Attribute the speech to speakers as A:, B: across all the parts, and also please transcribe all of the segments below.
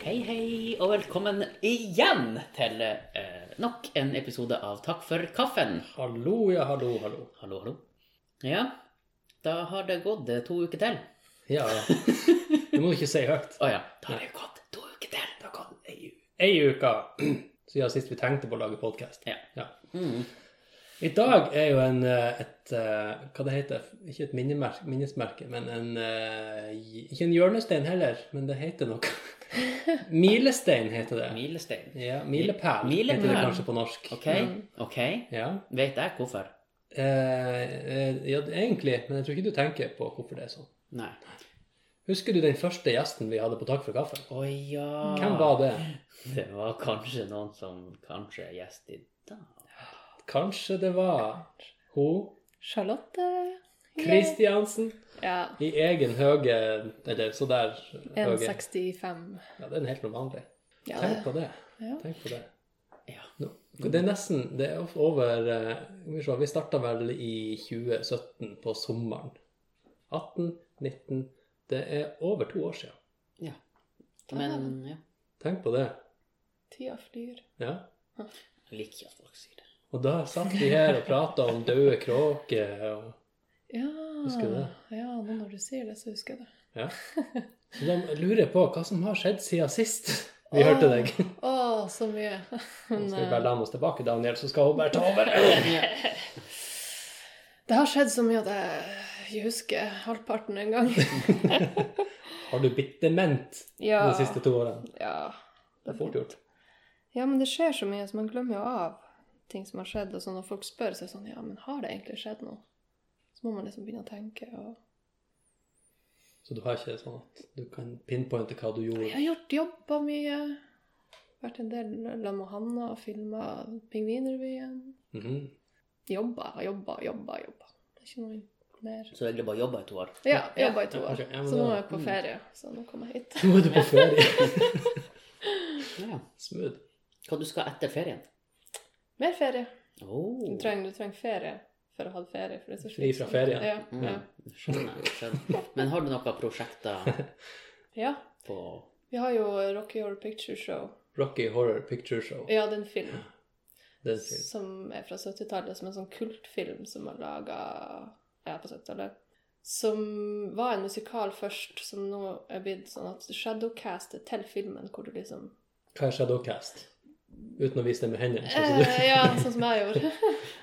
A: Hei, hei, og velkommen igjen til eh, nok en episode av Takk for kaffen.
B: Hallo, ja, hallo, hallo.
A: Hallo, hallo. Ja, da har det gått eh, to uker til.
B: Ja, du må ikke si høyt.
A: Å ja, da har det gått to uker til. Da kan jeg
B: Ei uke siden sist vi tenkte på å lage podkast.
A: Ja.
B: Ja.
A: mm.
B: I dag er jo en eh, et eh, Hva det heter Ikke et minnemerke, minnesmerke, men en eh, Ikke en hjørnestein heller, men det heter noe. Milestein heter det.
A: Milestein.
B: Ja, Milepæl
A: Milepæl.
B: heter det kanskje på norsk.
A: Ok, ok.
B: Ja.
A: Vet jeg hvorfor?
B: Eh, eh, ja, egentlig, men jeg tror ikke du tenker på hvorfor det er sånn.
A: Nei.
B: Husker du den første gjesten vi hadde på Takk for kaffen?
A: Å ja.
B: Hvem var det?
A: Det var kanskje noen som kanskje er gjest i dag.
B: Kanskje det var hun
C: Charlotte eh,
B: Kristiansen
C: Ja.
B: i egen høge Eller så der høge.
C: 1,65.
B: Ja, det er helt noe vanlig.
C: Ja,
B: Tenk på det.
C: Ja.
B: Tenk på det.
A: Ja.
B: Nå, det er nesten det er over eh, Skal vi se, vi starta vel i 2017 på sommeren. 18, 19 Det er over to år siden.
A: Men ja,
B: Tenk på det.
C: tida flyr.
B: Ja.
A: jeg liker ikke at folk sier det.
B: Og da satt vi her og prata om døde kråker og
C: Ja.
B: Husker du det?
C: Ja, nå når du sier det, så husker jeg det.
B: Så da lurer jeg på hva som har skjedd siden sist vi hørte
C: Åh,
B: deg.
C: Å, så mye.
B: Nå skal vi
C: Men, eh,
B: bare lande oss tilbake, Daniel, så skal hun bare ta over.
C: eh, det har skjedd så mye at jeg ikke husker halvparten en gang.
B: Har du blitt dement
C: Ja.
B: de siste to årene?
C: Ja.
B: Det er fort gjort.
C: ja, men det skjer så mye, så man glemmer jo av ting som har skjedd. Og så når folk spør, så er det sånn Ja, men har det egentlig skjedd noe? Så må man liksom begynne å tenke. og...
B: Så du har ikke sånn at du kan pinpointe hva du
C: Jeg
B: gjorde?
C: har gjort jobba mye. Vært en del sammen med Hanna og filma Pingvinrevyen.
B: Mhm.
C: Jobba, jobba, jobba. jobba. Det er ikke noe mer.
A: Så egentlig bare jobba i to år.
C: Ja, jobba i to
B: Ja,
C: år.
B: kanskje. Ja, men
C: Så nå
B: da- mm.
C: er jeg på ferie, så nå kommer jeg hit.
B: Nå er du på ferie.
A: Ja.
B: Smooth.
A: Hva du skal etter ferien?
C: Mer ferie.
A: Oh.
C: Du trenger, du trenger ferie for å ha ferie. For det er så
B: Fri fra
C: slitsomt.
B: ferie.
C: Ja. ja.
A: Mm, skjønner, skjønner. Men har du noen prosjekter
C: ja.
A: på
C: Vi har jo Rocky Horror Picture Show.
B: Rocky Horror Picture Show.
C: Ja, det er en film
B: Den film.
C: som er fra 70-tallet, som er en sånn kultfilm som er laga ja, på 70-tallet. Som var en musikal først, som nå er blitt sånn at shadowcastet til filmen, hvor du liksom
B: Hva er Shadowcast? Uten å vise det med hendene. sånn som
C: eh,
B: du-
C: Ja, sånn som jeg gjorde.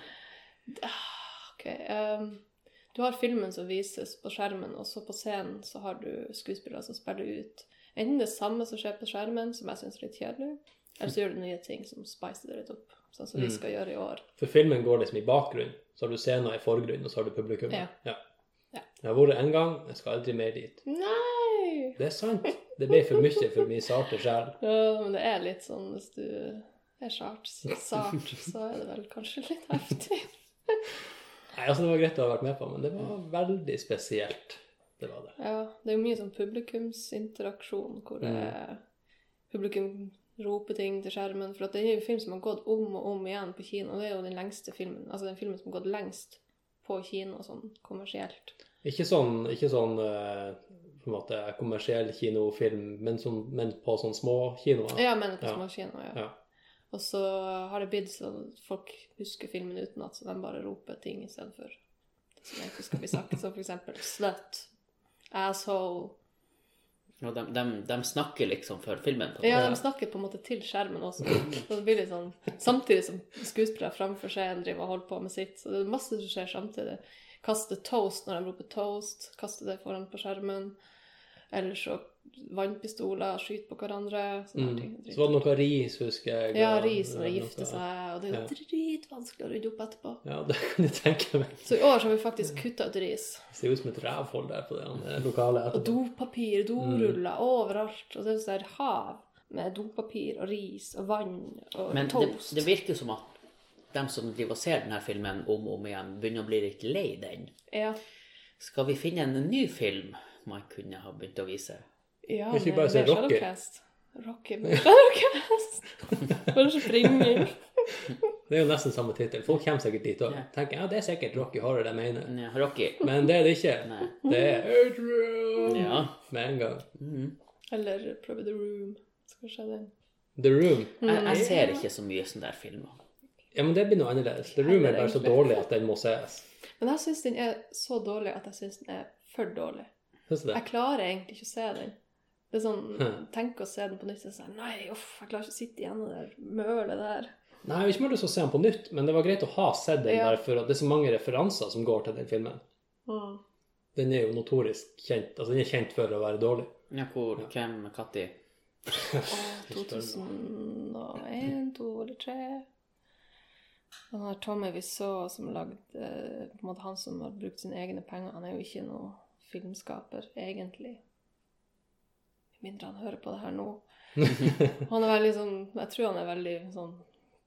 C: Ah, ok. ehm, du har filmen som vises på skjermen, og så på scenen så har du skuespillere som spiller ut enten det samme som skjer på skjermen, som jeg syns er litt kjedelig, eller så gjør du nye ting som spicer det litt opp, sånn som vi
B: Mm.
C: skal gjøre i år.
B: For filmen går liksom i bakgrunn, så har du scener i forgrunn, og så har du publikum.
C: Ja. Ja.
B: Jeg har vært en gang, jeg skal aldri mer dit.
C: Nei!
B: Det er sant. Det ble for mye for min sarte sjel.
C: Ja, men det er litt sånn hvis du er sart, sart så er det vel kanskje litt heftig.
B: Nei, altså Det var greit å ha vært med på, men det var veldig spesielt. Det var det.
C: Ja, det er jo mye sånn publikumsinteraksjon hvor det publikum roper ting til skjermen. For at det er jo en film som har gått om og om igjen på kino, og det er jo den lengste filmen. Altså den filmen som har gått lengst på kino sånn kommersielt.
B: Ikke sånn, ikke sånn eh, på en måte kommersiell kinofilm, men, som, men på sånn små kinoer.
C: Ja, jeg mener på
B: Ja.
C: små kino, ja.
B: Ja.
C: Og så har det blitt sånn at folk husker filmen utenat, så de bare roper ting istedenfor det som egentlig skal bli sagt, som for eksempel slut, asshole
A: Og de, de, de snakker liksom før filmen? På.
C: Ja, de snakker på en måte til skjermen også. Så det blir litt sånn, samtidig som skuespillere framfor scenen driver og holder på med sitt. Så det er masse som skjer samtidig. Kaste toast når de roper toast. Kaste det foran på skjermen. Eller så vannpistoler, skyte på hverandre. Sånne
B: Mm.
C: ting.
B: Så var det noe ris, husker jeg.
C: ja,
B: og-
C: ris når de
B: og
C: gifter
B: noe-
C: seg, og det er jo
B: Ja.
C: dritvanskelig å rydde opp etterpå.
B: Ja, det kan jeg tenke meg.
C: Så i år så har vi faktisk kutta ut ris.
B: Det ser ut som et rævhold der på det andre lokalet.
C: Og
B: etterpå. Mm.
C: dopapir, doruller overalt. Og så er det sånn her hav med dopapir og ris og vann og
A: Men det,
C: toast.
A: det virker som at de som driver og ser denne filmen om og om igjen, begynner å bli litt lei den.
C: Ja.
A: Skal vi finne en ny film man kunne ha begynt å vise?
C: Ja,
B: Hvis vi
C: med-
B: bare sier
C: med
B: Rocky.
C: Shadowcast. Rocky med Shadowcast. Bare springe.
B: Det er jo nesten samme tittel. Folk kommer sikkert dit òg.
A: Ja.
B: Tenker ja, det er sikkert Rocky Horror de mener.
A: Nei, Rocky?
B: Men det er det ikke.
A: Nei.
B: Det er Adrian
A: Ja.
B: med en gang.
A: Mhm.
C: Eller prøve The Room. Så Skal vi se den.
B: The Room.
A: Jeg, jeg ser ikke så mye sånne der filmer.
B: Ja, men det blir noe annerledes. The Room er bare så dårlig at den må sees.
C: Men jeg syns den er så dårlig at jeg syns den er for dårlig.
B: Syns du det?
C: Jeg klarer egentlig ikke å se den. Det er sånn,
B: Hm.
C: Tenk å se den på nytt og sånn Nei, uff, jeg klarer ikke å sitte igjen med det der mølet der.
B: Nei, jeg har ikke mer lyst til å se den på nytt, men det var greit å ha sett den
C: Ja.
B: der, for at det er så mange referanser som går til den filmen.
C: Mm.
B: Den er jo notorisk kjent. Altså, den er kjent for å være dårlig.
A: Ja, hvor,
B: Ja.
A: hvem, Katti?
C: Og 2001, 2 eller 3 Den her Tommy vi så, som lagde eh, på en måte Han som har brukt sine egne penger, han er jo ikke noen filmskaper, egentlig. Med mindre han hører på det her nå. Han er veldig sånn Jeg tror han er veldig sånn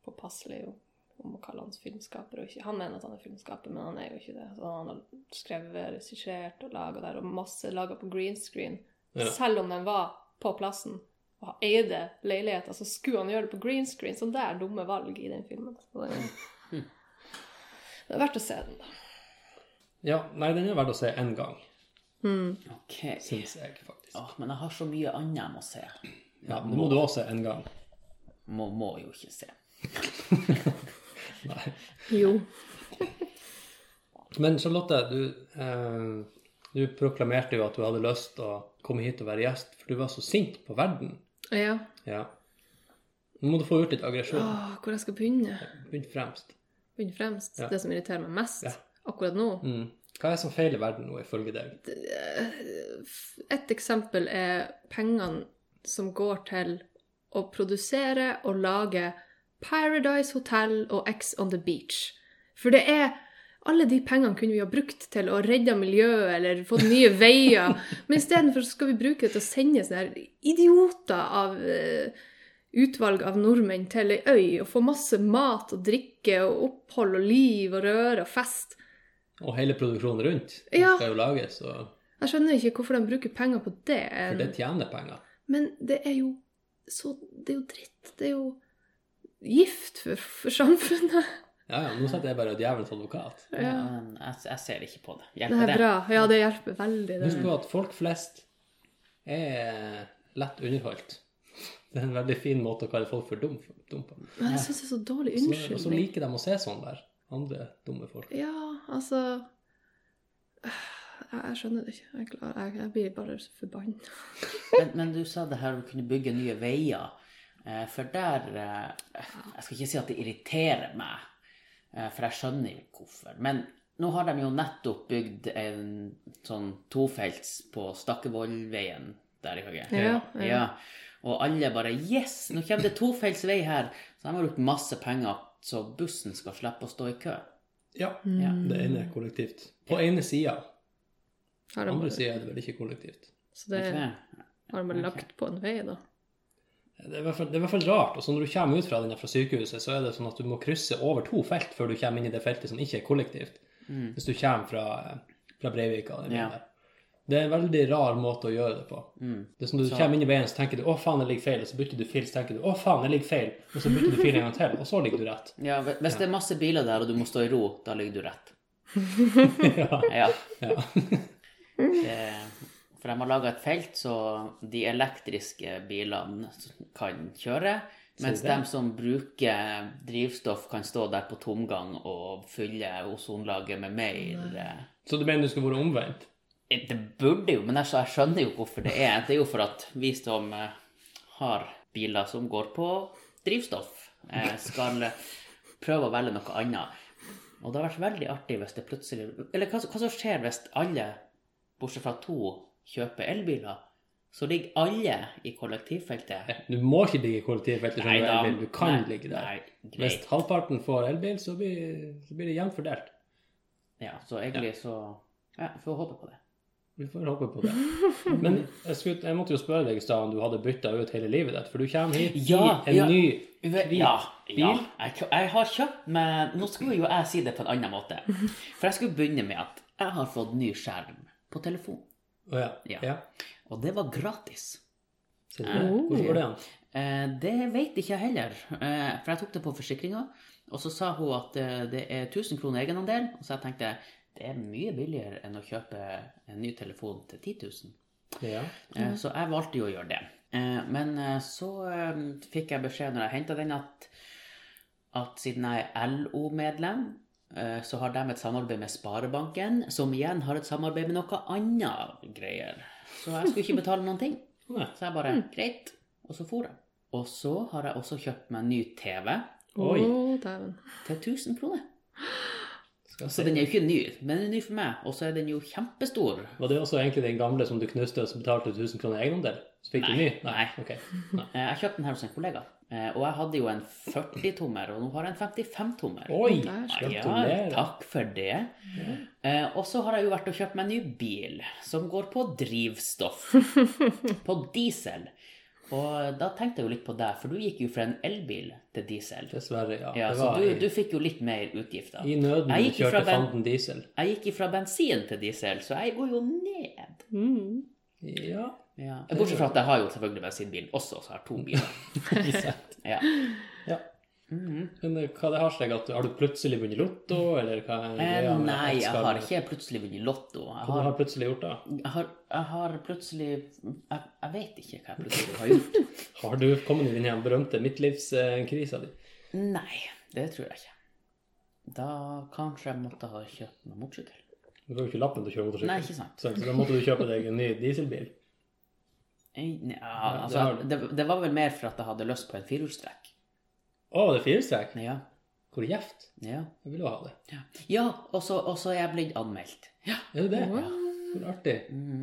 C: påpasselig om- om å kalle han filmskaper og ikke Han mener at han er filmskaper, men han er jo ikke det. Så han har skrevet, regissert og laga der, og masse laga på green screen.
B: Ja.
C: Selv om den var på plassen og han eide leiligheter, så skulle han gjøre det på green screen. Så det er dumme valg i den filmen. Så det, det er verdt å se den, da.
B: Ja, nei, den er verdt å se én gang,
C: Mm.
A: Ok.
B: syns jeg faktisk.
A: Åh, men jeg har så mye annet jeg må se.
B: Ja, det må du også se én gang.
A: Må, må jo ikke se.
B: Nei.
C: Jo.
B: Men Charlotte, du, eh, du proklamerte jo at du hadde lyst til å komme hit og være gjest, for du var så sint på verden.
C: Ja.
B: Ja. Nå må du få ut litt aggresjon.
C: Åh, hvor jeg skal begynne?
B: Begynn fremst.
C: Begynne fremst.
B: Ja.
C: Det som irriterer meg mest
B: Ja.
C: akkurat nå.
B: Mm. Hva er det som feiler verden nå, ifølge deg?
C: Eh, Et eksempel er pengene som går til å produsere og lage Paradise Hotel og X on the Beach. For det er alle de pengene kunne vi ha brukt til å redde miljøet eller fått nye veier, men istedenfor så skal vi bruke det til å sende sånne her idioter av eh, utvalg av nordmenn til ei øy og få masse mat og drikke og opphold og liv og røre og fest.
B: Og hele produksjonen rundt.
C: Ja.
B: Den skal jo lages, og
C: Jeg skjønner ikke hvorfor de bruker penger på det.
B: for det tjener penger.
C: Men det er jo så Det er jo dritt. Det er jo gift for, for samfunnet.
B: Ja, ja, nå setter jeg bare djevelens advokat.
A: Ja.
C: Ja.
A: men Jeg, jeg ser ikke på det.
C: Det
A: Hjelper
C: er
A: det?
C: bra. Ja, det hjelper veldig. Det.
B: Husk på at folk flest er lett underholdt. Det er en veldig fin måte å kalle folk for dum, dum på.
C: Men jeg syns det er så dårlig
B: Så, og så
C: unnskyldning.
B: liker de å se sånn der. Andre dumme folk.
C: Ja, altså Jeg, jeg skjønner det ikke. Jeg, klarer, jeg, jeg blir bare så forbanna.
A: Men, men du sa det her om å kunne bygge nye veier. Eh, For der eh, Jeg skal ikke si at det irriterer meg, eh, for jeg skjønner jo hvorfor. Men nå har de jo nettopp bygd en sånn tofelts på Stakkevollveien der i Høge.
C: Ja, ja.
A: Ja. Og alle bare Yes, nå kommer det tofelts vei her! Så de har brukt masse penger så bussen skal slippe å stå i kø.
B: Ja,
A: Ja.
B: det ene er kollektivt. På ene sida.
C: Har de
B: Andre
C: bare,
B: sida er det vel ikke kollektivt.
C: så det
A: Ikke
C: har
A: det?
C: de bare lagt på en vei, da.
B: Det er i hvert fall, det er i hvert fall rart. Og så når du kommer ut fra den her fra sykehuset, så er det sånn at du må krysse over to felt før du kommer inn i det feltet som ikke er kollektivt.
A: Mm.
B: Hvis du kommer fra, fra Breivika. den
A: Ja.
B: veien der. Det er en veldig rar måte å gjøre det på.
A: Mm.
B: Det er som du
A: Så-
B: kommer inn i veien, så tenker du 'Å, faen, jeg ligger feil', og så bytter du fil, så tenker du 'Å, faen, jeg ligger feil', og så bytter du fil en gang til, og så ligger du rett.
A: Ja, hvis det er masse biler der, og du må stå i ro, da ligger du rett.
B: ja.
A: Ja.
B: Ja.
A: Eh, For de har laga et felt så de elektriske bilene kan kjøre, mens
B: Så
A: de
B: det.
A: som bruker drivstoff, kan stå der på tomgang og fylle ozonlaget med mer eh,
B: Så du mener du skulle vært omvendt?
A: Det burde jo, men jeg skj- jeg skjønner jo hvorfor det er. Det er jo for at vi som eh, har biler som går på drivstoff, eh, skal prøve å velge noe annet. Og det har vært veldig artig hvis det plutselig Eller hva, hva som skjer hvis alle, bortsett fra to, kjøper elbiler? Så ligger alle i kollektivfeltet.
B: Du må ikke ligge i kollektivfeltet som du er
A: da,
B: elbil, du kan
A: nei,
B: ligge der.
A: Nei,
B: Hvis
A: greit.
B: halvparten får elbil, så blir, så blir det jevnt fordelt.
A: Ja, så egentlig så Ja, får håpe på det.
B: Vi får håpe på det. Men jeg, skulle, jeg måtte jo spørre deg i stad om du hadde bytta ut hele livet ditt, for du kommer hit
A: Ja,
B: i en
A: ja.
B: ny
A: Uve-
B: Hvit
A: Ja, ja.
B: bil?
A: Jeg, jeg har kjøpt meg Nå skulle jo jeg si det på en annen måte. For jeg skulle begynne med at jeg har fått ny skjerm på telefon.
B: Å ja.
A: Ja.
B: ja.
A: Og det var gratis.
B: Så det, hvordan går det an?
A: Eh, det vet ikke jeg heller, eh, for jeg tok det på forsikringa. Og så sa hun at eh, det er 1000 kroner egenandel, og så jeg tenkte det er mye billigere enn å kjøpe en ny telefon til 10 000.
B: Ja.
A: Eh, Så jeg valgte jo å gjøre det. Eh, Men eh, så eh, fikk jeg beskjed når jeg henta den, at, at siden jeg er LO-medlem, eh, så har de et samarbeid med Sparebanken, som igjen har et samarbeid med noe annet greier. Så jeg skulle ikke betale noen ting.
B: Nei.
A: Så jeg bare
B: Hmm.
A: Greit. Og så for jeg. Og så har jeg også kjøpt meg en ny TV
B: Oi.
C: Å, dæven.
A: til 1000 kroner.
B: Skal jeg
A: Så
B: se.
A: den er jo ikke ny, men den er ny for meg. Og så er den jo kjempestor.
B: Var det også egentlig den gamle som du knuste og som betalte 1000 kroner egenandel? Så fikk du ny?
A: Nei, nei.
B: ok.
A: Eh, Jeg kjøpte den her hos en kollega, eh, og jeg hadde jo en 40-tommer, og nå har jeg en 55-tommer.
B: Oi!
C: Der.
A: Ja,
B: Gratulerer.
A: takk for det. Eh, og så har jeg jo vært og kjøpt meg en ny bil, som går på drivstoff. på diesel. Og da tenkte jeg jo litt på deg, for du gikk jo fra en elbil til diesel.
B: Dessverre, ja.
A: Ja,
B: det
A: så
B: var
A: du,
B: i-
A: du fikk jo litt mer utgifter.
B: I nøden
A: Jeg gikk jo
B: kjørte
A: fra ben-
B: fanden diesel.
A: Jeg gikk fra bensin til diesel, så jeg går jo ned.
C: Mm.
B: Ja.
A: Ja. Bortsett fra at jeg har jo selvfølgelig bensinbil også, så jeg har to biler. Ja.
B: ja.
A: Mhm.
B: Men eh, hva det har seg at Har du plutselig vunnet lotto, eller hva er
A: Eh,
B: greia med
A: Nei, jeg
B: Oddskar?
A: har ikke plutselig vunnet Lotto. Jeg
B: Hva du
A: har
B: har plutselig gjort da?
A: Jeg har, jeg har plutselig jeg, jeg vet ikke hva jeg plutselig har gjort.
B: Har du kommet i den her berømte midtlivskrisa di?
A: Nei, det tror jeg ikke. Da kanskje jeg måtte ha kjøpt meg motorsykkel.
B: Du får jo ikke lappen til å kjøre motorsykkel.
A: Nei, ikke sant.
B: Så, så da måtte du kjøpe deg en ny dieselbil.
A: Nei, Ja,
B: det
A: altså,
B: har du.
A: det, det var vel mer for at jeg hadde lyst på en firehjulstrekk.
B: Å, det er firestrekk?
A: Ja,
B: Hvor gjevt?
A: ja.
B: Jeg vil jo ha det.
A: Ja, ja og så og så er jeg blitt anmeldt. Ja.
B: Er det det?
C: Wow.
B: Hvor artig.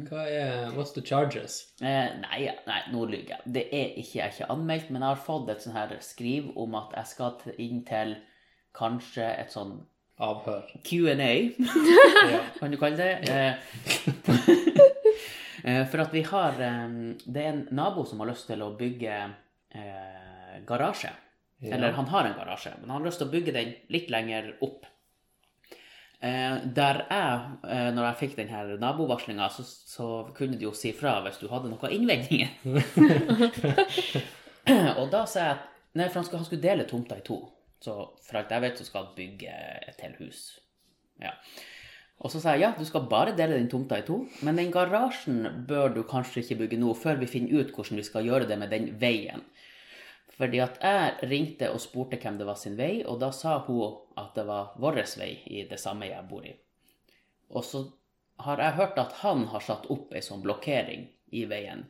B: Hva er What's the charges?
A: Eh, nei, nei, nå lyver jeg. Det er ikke, jeg er ikke anmeldt, men jeg har fått et sånn her skriv om at jeg skal til- inn til kanskje et sånn
B: Avhør.
A: Q&A.
B: Ja.
A: kan du kalle det. Eh, eh, For at vi har eh, Det er en nabo som har lyst til å bygge eh, garasje.
B: Ja.
A: Eller han har en garasje, men han har lyst til å bygge den litt lenger opp. Eh, Der jeg, eh, når jeg fikk den her nabovarslinga, så, så kunne du jo si fra hvis du hadde noen innvendinger. Og da sa jeg Nei, for han skulle, han skulle dele tomta i to. Så for alt jeg vet, så skal han bygge et helt hus. Ja. Og så sa jeg ja, du skal bare dele den tomta i to, men den garasjen bør du kanskje ikke bygge nå før vi finner ut hvordan vi skal gjøre det med den veien. Fordi at jeg ringte og spurte hvem det var sin vei, og da sa hun at det var vår vei i det samme jeg bor i. Og så har jeg hørt at han har satt opp ei sånn blokkering i veien.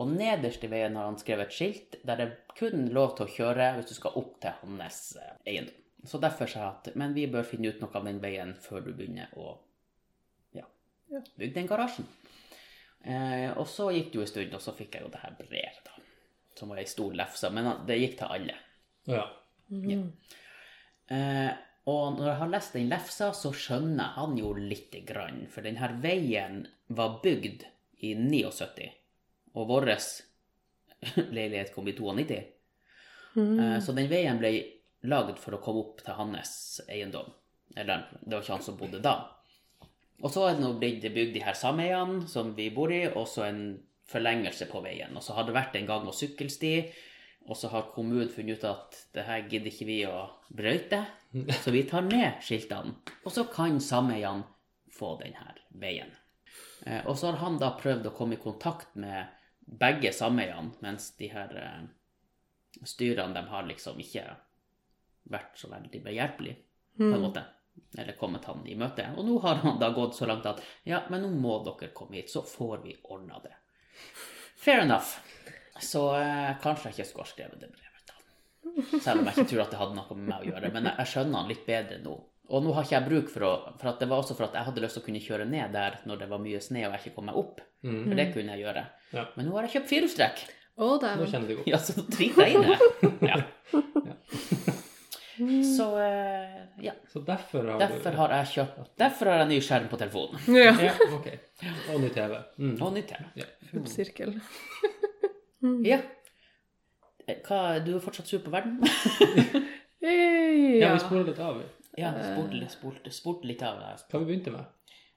A: Og nederst i veien har han skrevet et skilt der det kun er lov til å kjøre hvis du skal opp til hans eh, eiendom. Så derfor sa jeg at men vi bør finne ut noe av den veien før du begynner å ja, bygge den garasjen. Eh, og så gikk det jo en stund, og så fikk jeg jo det her brevet, da. Som var ei stor lefse. Men det gikk til alle.
B: Å ja.
A: Eh, og når jeg har lest den lefsa, så skjønner han jo lite grann. For den her veien var bygd i 79, og vår leilighet kom i 92.
C: Mm.
A: Eh, så den veien ble lagd for å komme opp til hans eiendom. Eller, det var ikke han som bodde da. Og så er det nå blitt bygd de her sameiene som vi bor i, og så en forlengelse på veien. Og så har det vært en gang- og sykkelsti, og så har kommunen funnet ut at det her gidder ikke vi å brøyte, så vi tar ned skiltene. Og så kan sameiene få den her veien. Eh, Og så har han da prøvd å komme i kontakt med begge sameiene, mens de her eh, styrene de har liksom ikke vært så veldig behjelpelige, på
C: Mm.
B: Mm.
A: en måte. Eller kommet han i møte. Og nå har han da gått så langt at ja, men nå må dere komme hit, så får vi ordna det. Fair enough. Så eh, kanskje jeg ikke skulle ha skrevet det brevet, da. Selv om jeg ikke tror at det hadde noe med meg å gjøre. Men jeg, jeg skjønner han litt bedre nå. Og nå har ikke jeg bruk for å For at det var også for at jeg hadde lyst til å kunne kjøre ned der når det var mye snø og jeg ikke kom meg opp.
B: Mm.
A: For det kunne jeg gjøre.
B: Ja.
A: Men nå har jeg kjøpt firehjulstrekk.
C: Å,
B: Nå
C: dæven.
B: kjenner du godt.
A: Ja, så driter jeg i det. Ja.
C: Mm.
A: Så eh, ja.
B: Så derfor har
A: Derfor
B: du
A: har jeg kjøpt Derfor har jeg ny skjerm på telefonen.
C: Ja.
B: Ja, ok. Og ny TV. Mm.
A: Og nytt TV.
C: Full sirkel.
A: Ja. Eh, Hva, du er fortsatt sur på verden?
B: Ja,
C: Ja.
B: vi spoler litt av.
A: Ja, spurte litt, spurte, spurte litt av det.
B: Hva vi begynte med?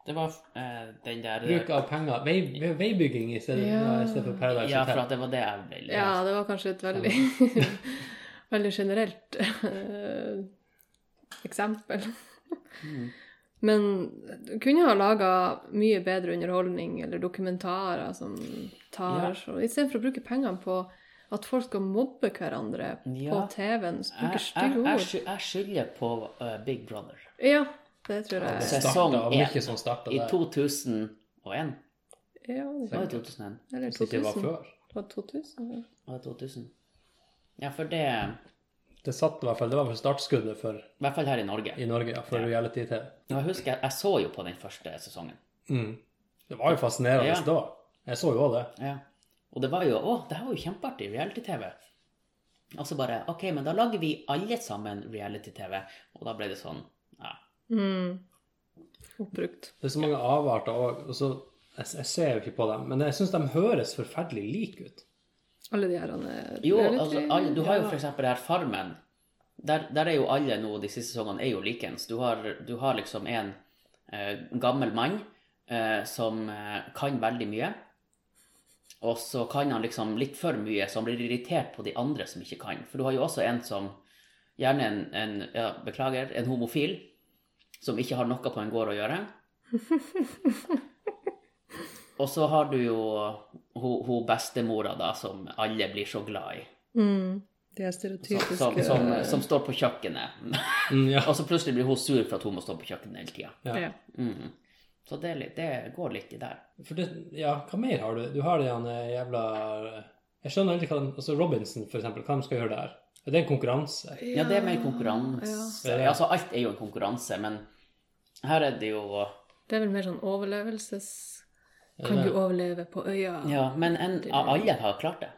A: Det var eh, den der
B: Bruk av penger. Vei, vei, veibygging i stedet,
C: Ja.
B: i stedet for Paradise
A: Ja, for
B: Hotel.
A: at det var det jeg ble
C: ja, det var kanskje et veldig
A: Mm.
C: Veldig generelt eh, eksempel. Men du kunne ha laga mye bedre underholdning eller dokumentarer som tar og Istedenfor å bruke pengene på at folk skal mobbe hverandre på
A: Ja.
C: TV-en.
A: Jeg,
C: Bruke
A: jeg, jeg,
C: stygge ord.
A: sky- jeg skylder på eh, Big Brother.
C: Ja, det tror
B: Det
C: jeg.
A: Sesong
B: starta
A: én.
B: mye som starta
A: I
B: der.
A: 2001.
C: Ja,
A: Var det 2001?
C: eller
B: Hvis ikke det var
C: 2000.
B: før.
C: Var det 2000? ja.
A: Var det 2000? Ja, for det I
B: Det satt i hvert fall, det var vel startskuddet for,
A: hvert fall her i Norge.
B: i Norge, ja, for reality-TV.
A: Og jeg husker jeg, jeg så jo på den første sesongen.
B: Mm. Det var jo fascinerende
A: Ja.
B: da. Jeg så jo òg det.
A: Ja. Og det var jo Å, det her var jo kjempeartig. Reality-TV. Og så bare OK, men da lager vi alle sammen reality-TV. Og da ble det sånn ja.
C: Mm. Oppbrukt.
B: Det er så mange avarter òg. Og så, jeg, jeg ser jo ikke på dem, men jeg syns de høres forferdelig like ut.
C: Alle de her han er
A: Jo,
C: reality-
A: altså, alle, du har jo f.eks. det her Farmen. Der, der er jo alle nå de siste sesongene er jo likens. Du har, du har liksom en eh, gammel mann eh, som eh, kan veldig mye. Og så kan han liksom litt for mye, så han blir irritert på de andre som ikke kan. For du har jo også en som Gjerne en, en ja, beklager, en homofil som ikke har noe på en gård å gjøre. Og så har du jo hun, hun bestemora, da, som alle blir så glad i.
C: Mm. De her
A: Som,
C: stereotypiske
A: som,
C: eh,
A: som, som står på kjøkkenet.
B: Mm, ja.
A: Og så plutselig blir hun sur for at hun må stå på kjøkkenet hele tida.
B: Ja.
C: ja.
A: Mm. Så det, er litt, det går litt i der.
B: For det, ja, hva mer har du? Du har de han eh, jævla Jeg skjønner egentlig hva den, altså Robinson, for eksempel, hva de skal gjøre der. Er det en konkurranse?
A: Ja, det er mer konkurranse.
B: Ja.
A: Altså, alt er jo en konkurranse, men her er det jo
C: Det er vel mer sånn overlevelses...
B: Er
C: Kan
B: det-
C: du overleve på øya?
A: Ja, men en, av alle har klart det.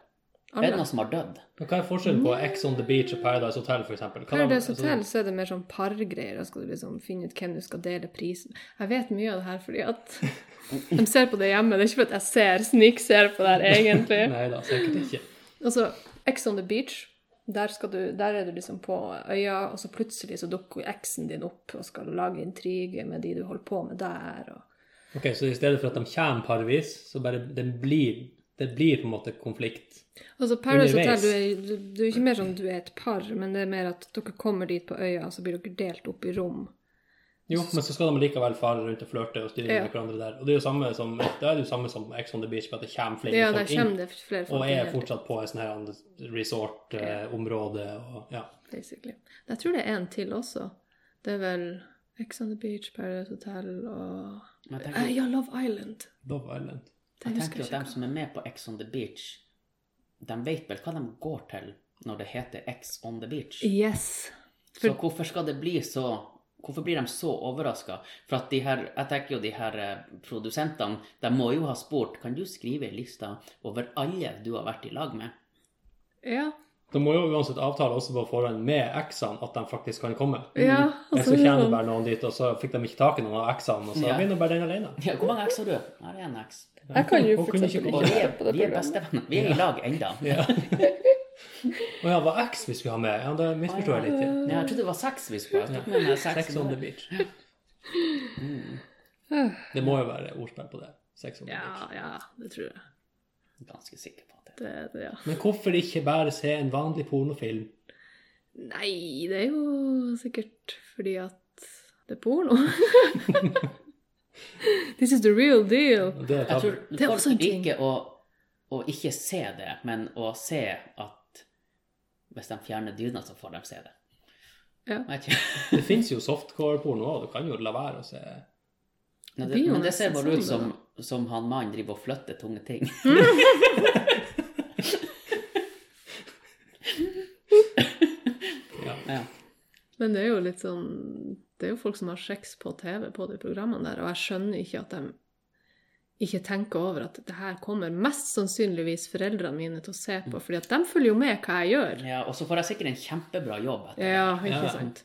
A: Er det
C: Alle.
A: noen som har dødd?
B: Men hva er forskjellen på X on the Beach og Paradise Hotel, for eksempel? Hva
C: Paradise
B: de- altså,
C: Hotel så er det mer sånn pargreier. Da skal du liksom finne ut hvem du skal dele prisen Jeg vet mye av det her fordi at de ser på det hjemme. Det er ikke fordi at jeg ser snikser på det her, egentlig.
B: Nei da, sikkert ikke.
C: Altså, X on the beach, der, skal du, der er du liksom på øya, og så plutselig så dukker eksen din opp og skal lage intrigue med de du holder på med der. Og...
B: Ok, Så i stedet for at de kommer parvis, så bare den blir, det blir på en måte konflikt?
C: Altså, Paradise Hotel,
B: Underveis.
C: du er, du, du er ikke mer sånn du er et par, men det er mer at dere kommer dit på øya, og så blir dere delt opp i rom.
B: Jo, men så skal de likevel fare rundt og flørte og styre
C: Ja.
B: med hverandre der. Og det er jo samme som, da er det jo samme som X on the Beach, bare at det kommer flere
C: Ja, der
B: folk
C: kommer
B: inn.
C: det flere folk
B: Og
C: inn
B: er
C: hele tiden,
B: fortsatt på et sånt her resort-område og ja.
C: basically. Jeg tror det er en til også. Det er vel X on the beach, Paradise Hotel og
A: Men jeg
C: Eh,
A: tenker,
C: Ja, Love Island.
B: Love Island.
C: Det
A: jeg
C: husker
A: tenker
C: jeg
A: jo at
C: ikke.
A: de som er med på X on the Beach, de vet vel hva de går til når det heter X on the Beach.
C: Yes.
A: Så hvorfor skal det bli så Hvorfor blir de så overraska? For at de her, jeg tenker jo de her eh, produsentene, de må jo ha spurt Kan du skrive ei liste over alle du har vært i lag med?
C: Ja.
B: De må jo uansett avtale også på forhånd med X-ene at de faktisk kan komme.
C: ja
B: Men
C: altså,
B: så kommer
C: sånn-
B: det bare noen dit, og så fikk de ikke tak i noen av X-ene, og så
A: Ja.
B: blir nå bare den alene.
A: Ja, hvor mange X har du? Her er en X.
C: Jeg kan jo
B: Hun
C: for
B: kunne
C: eksempel
B: ikke
A: Og vi
B: gå
C: ikke
A: er,
C: høre på det
A: vi er
C: programmet.
A: bestevenner. Vi er i lag enda. Ja,
B: Ja. Å ja, var X vi skulle ha med? Ja, det misforstår jeg litt. Ja.
A: jeg trodde det var seks vi skulle ha. Jeg tok med meg seks.
B: Sex on the beach. Mm. Det må jo være ordspill på det. Sex on the
C: Ja,
B: beach.
C: ja, det tror jeg.
A: Ganske sikker på at det.
C: Det, det, ja.
B: Men hvorfor ikke bare se en vanlig pornofilm?
C: Nei, det er jo sikkert fordi at det er porno. This is the real deal.
B: Og Det er
A: Jeg
B: tabu.
A: tror
C: Det er også en
A: folk
C: ting.
A: liker å, å ikke se det, men å se at hvis de fjerner dyna, så får de se det.
C: Ja.
A: Jeg vet ikke.
B: Det fins jo softcore-porno òg, du kan jo la være å se
A: Nei,
C: Det
A: det,
C: blir jo
A: men det ser
C: nesten
A: bare ut
C: sånn,
A: som, som han mannen driver og flytter tunge ting.
B: ja.
A: Ja.
C: Men det er jo litt sånn Det er jo folk som har sex på TV på de programmene der, og jeg skjønner ikke at de ikke tenker over at det her kommer mest sannsynligvis foreldrene mine til å se på, fordi at de følger jo med hva jeg gjør.
A: ja, og så får jeg sikkert en kjempebra jobb etter
C: Ja,
B: Ja,
C: ikke
B: ja.
C: sant.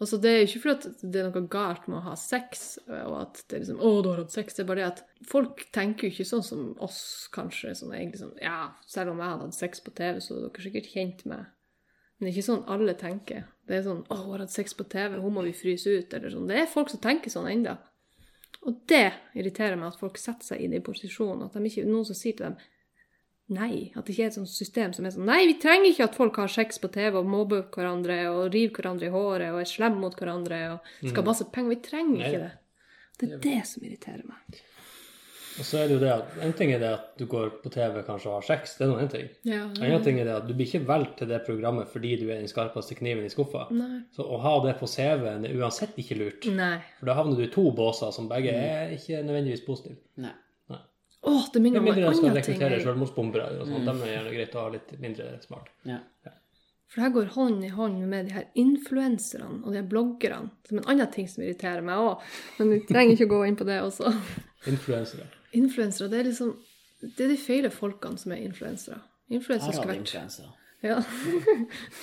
C: Og så Det er jo ikke fordi at det er noe galt med å ha sex, og at det er liksom, å, du har hatt sex. Det er bare det at folk tenker jo ikke sånn som oss, kanskje. Sånn, egentlig sånn, ja, Selv om jeg hadde hatt sex på TV, så hadde dere sikkert kjent meg. Men det er ikke sånn alle tenker. Det er sånn 'Å, hun har hatt sex på TV, hun må vi fryse ut', eller sånn. Det er folk som tenker sånn enda. Og det irriterer meg, at folk setter seg i den posisjonen. At de ikke, noen som sier til dem Nei. At det ikke er et sånt system som er sånn Nei, vi trenger ikke at folk har sex på TV og mobber hverandre og river hverandre i håret og er slemme mot hverandre og skal ha masse penger. Vi trenger
B: Mhm. Nei.
C: ikke det. Det er det som irriterer meg.
B: Og så er det jo det at en ting er det at du går på TV kanskje og har sex, det er nå en ting.
C: Ja,
B: En annen ting er det at du blir ikke valgt til det programmet fordi du er den skarpeste kniven i skuffa.
C: Nei.
B: Så å ha det på CV-en er uansett ikke lurt.
C: Nei.
B: For da havner du i to båser som begge
C: Mm.
B: er ikke nødvendigvis positive.
A: Nei.
C: Å, det minner
B: Med
C: om en
B: mindre de skal
C: annen ting. Mm.
B: rekruttere
C: jeg-
B: selvmordsbombere. eller noe sånt. Dem er det gjerne greit å ha litt mindre smart.
A: Ja.
C: For det her går hånd i hånd med de her influenserne og de her bloggerne. Som en annen ting som irriterer meg òg. Men vi trenger ikke å gå inn på det også.
B: Influensere.
C: Influensere, det er liksom Det er de feile folkene som er influensere. Influensere
A: Her har vi
C: skulle vært
A: influensa.
C: Ja.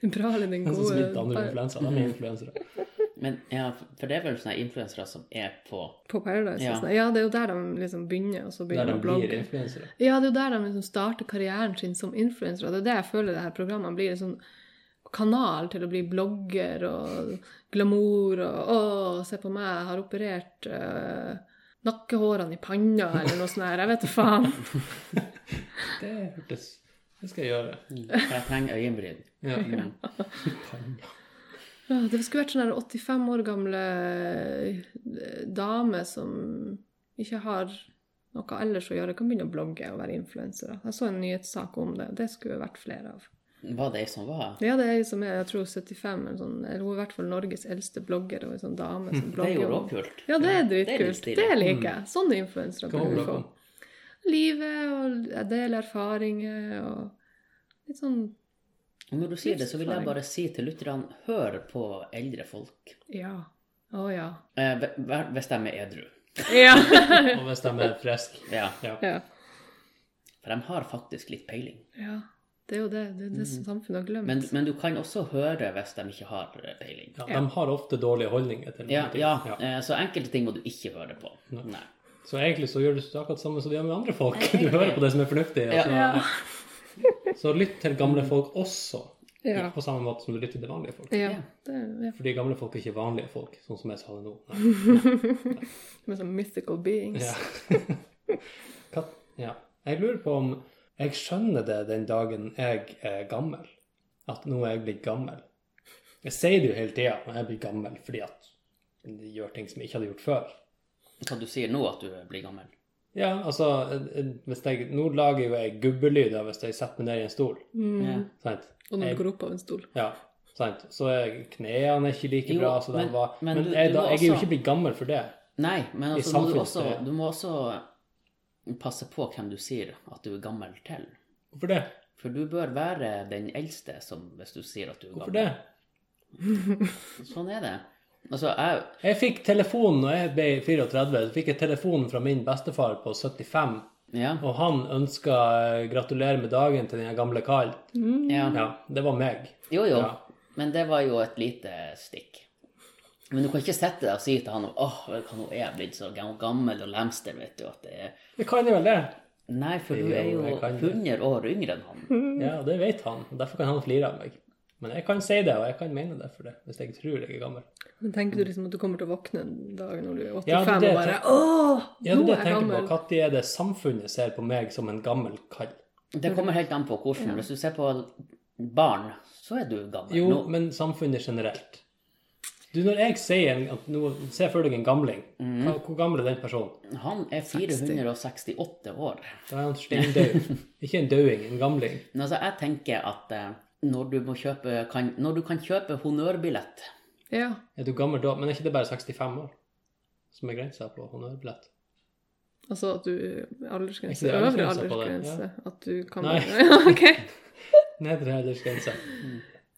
C: Den bra eller den
B: Den Sånn som smitter
C: gode
B: andre
C: par-
B: influenser, de er influensere.
A: Men ja, for det er vel sånne influensere som er på
C: på Paradise.
A: Ja.
C: Ja. ja, det er jo der de liksom begynner, og så
B: Der
C: begynner
B: de
C: de å
B: blir
C: blogge.
B: influensere.
C: Ja, det er jo der de liksom starter karrieren sin som influensere. og Det er det jeg føler det her programmet blir en sånn kanal til å bli blogger og glamour og å, se på meg, jeg har operert øh, nakkehårene i panna eller noe sånt her. Jeg vet da faen.
B: Det hørtes Det skal jeg gjøre.
C: Mm.
A: For jeg trenger øyenbryn.
B: Ja.
C: Ja, Det skulle vært sånn her 85 år gamle eh, dame som ikke har noe ellers å gjøre, kan begynne å blogge og være influensere. Jeg så en nyhetssak om det. Det skulle vært flere av.
A: Var det ei som var?
C: Ja, det er ei som er jeg tror 75, eller sånn, eller hun er i hvert fall Norges eldste blogger. og en sånn dame som
A: Hm, Det er jo
C: blogger. om-
A: råkult.
C: Ja, det er
A: Det er litt
C: dritkult.
A: stilig. Hm.
C: Det, liker jeg. Sånne influensere
B: Hva
C: bør vi
B: blogger
C: få.
B: om?
C: Livet, og jeg deler erfaringer og litt sånn
A: Og når du sier det, så vil jeg bare si til lytterne, hør på eldre folk.
C: Ja. Å ja.
A: Eh, hver- hver- hvis de er edru.
C: Ja.
B: Og hvis de er friske.
A: Ja.
B: Ja.
C: ja.
A: For de har faktisk litt peiling.
C: Ja, det er jo det. Det er det
B: Mm.
C: som samfunnet har glemt.
A: Men, men du kan også høre hvis de ikke har peiling.
B: Ja, de har ofte dårlige holdninger til
A: Ja,
B: mange ting.
A: ja,
B: Ja.
A: eh, Så enkelte ting må du ikke høre på. Nei.
B: Så egentlig så gjør du akkurat samme som du gjør med andre folk. Du hører på det som er fornuftig. og
C: ja.
B: Så, så lytt til gamle folk også.
C: Mm. Ja.
B: Ikke på samme måte som du lytter til vanlige folk.
C: ja. Det er ja.
B: Fordi gamle folk er ikke vanlige folk, sånn som jeg sa det nå. Nei.
C: Med sånn mythical beings.
B: Ja. Katt, ja. Jeg lurer på om jeg skjønner det den dagen jeg er gammel. At nå er jeg blitt gammel. Jeg sier det jo hele tida når jeg blir gammel, fordi at jeg gjør ting som jeg ikke hadde gjort før.
A: Hva du sier nå, at du blir gammel.
B: Ja, altså, eh, eh, hvis jeg, Nå lager jo jeg gubbelyder hvis jeg setter meg ned i en stol.
C: Mm.
A: Ja.
B: Sant?
C: Og når
B: Jeg-
C: du går opp av en stol.
B: Ja, sant. Så er knærne ikke like
A: Jo,
B: bra som de
A: men-
B: var.
A: men
B: Men,
A: du-
B: jeg,
A: du
B: da,
A: må
B: jeg er jo
A: også-
B: ikke blitt gammel for det.
A: Nei, men
B: I
A: altså, må du, også,
B: samfunnet, ja.
A: du må også passe på hvem du sier at du er gammel til.
B: Hvorfor det?
A: For du bør være den eldste som, hvis du sier at du er gammel.
B: Hvorfor det?
A: Sånn er det. Altså, jeg,
B: Jeg fikk telefon når jeg ble 34. Så fikk jeg telefon fra min bestefar på 75.
A: ja,
B: Og han ønska gratulerer med dagen til den gamle karen.
A: ja.
B: Mm. Ja, det var meg.
A: Jo, jo.
B: Ja.
A: Men det var jo et lite stikk. Men du kan ikke sette deg og si til han åh, vet du hva, nå er jeg blitt så gam- gammel og lemster, vet du. at det er...
B: Jeg kan jo vel det.
A: Nei, for du
B: Jo,
A: er jo
B: jeg kan det.
A: 100 år yngre enn han.
B: Ja, det vet han. og Derfor kan han flire av meg. Men jeg kan si det, og jeg kan mene det for det, hvis jeg tror jeg er gammel.
C: Men tenker du liksom at du kommer til å våkne en dag når du er 85
B: Ja, det er det
C: og
B: jeg
C: bare
B: Ja,
C: Åh,
B: det er
C: nå
B: det
C: er
B: jeg
C: jeg
B: tenker
C: gammel.
B: på. Når er det samfunnet ser på meg som en gammel kall?
A: Det
B: Mm.
A: kommer helt an på hvordan. Hvis du ser på barn, så er du gammel
B: Jo,
A: nå.
B: men samfunnet generelt. Du, når jeg sier en, at nå, Se for deg en gamling. Hva, hvor gammel er den personen?
A: mm, Han er 468 år.
B: Da er han steindau. Ikke en dauing, en gamling.
A: Men altså, jeg tenker at eh, når du, må kjøpe, kan, når du kan kjøpe honnørbillett
C: Ja.
B: Er du gammel da? Men er ikke det bare 65 år som er grensa på honnørbillett?
C: Altså at du aldersgrense.
B: Ikke det,
C: Øvre
B: aldersgrense på det,
C: aldersgrense. At du kan
B: Nei.
C: Ja, OK.
B: Nedre aldersgrense.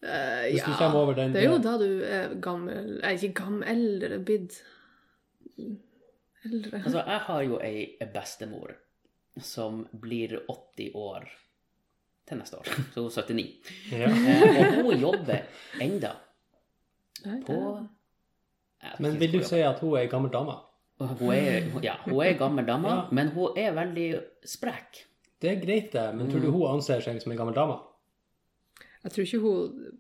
C: Eh,
B: Hvis du
C: ja.
B: kommer over den
C: Det er jo da du er gammel eh, Ikke gammel, eldre bidd. Eldre.
A: Altså, jeg har jo ei bestemor som blir 80 år til neste år. Så hun er 79.
B: ja.
A: Eh, og hun jobber enda
C: Nei, det-
A: på Jeg vet
B: Men
A: ikke
B: vil du
A: hvor-
B: si at hun er ei gammel dame?
A: Hun er, ja, hun er gammel dame,
B: Ja.
A: men hun er veldig sprek.
B: Det er greit, det, men
C: Mm.
B: tror du hun anser seg som ei gammel dame?
C: Jeg tror ikke hun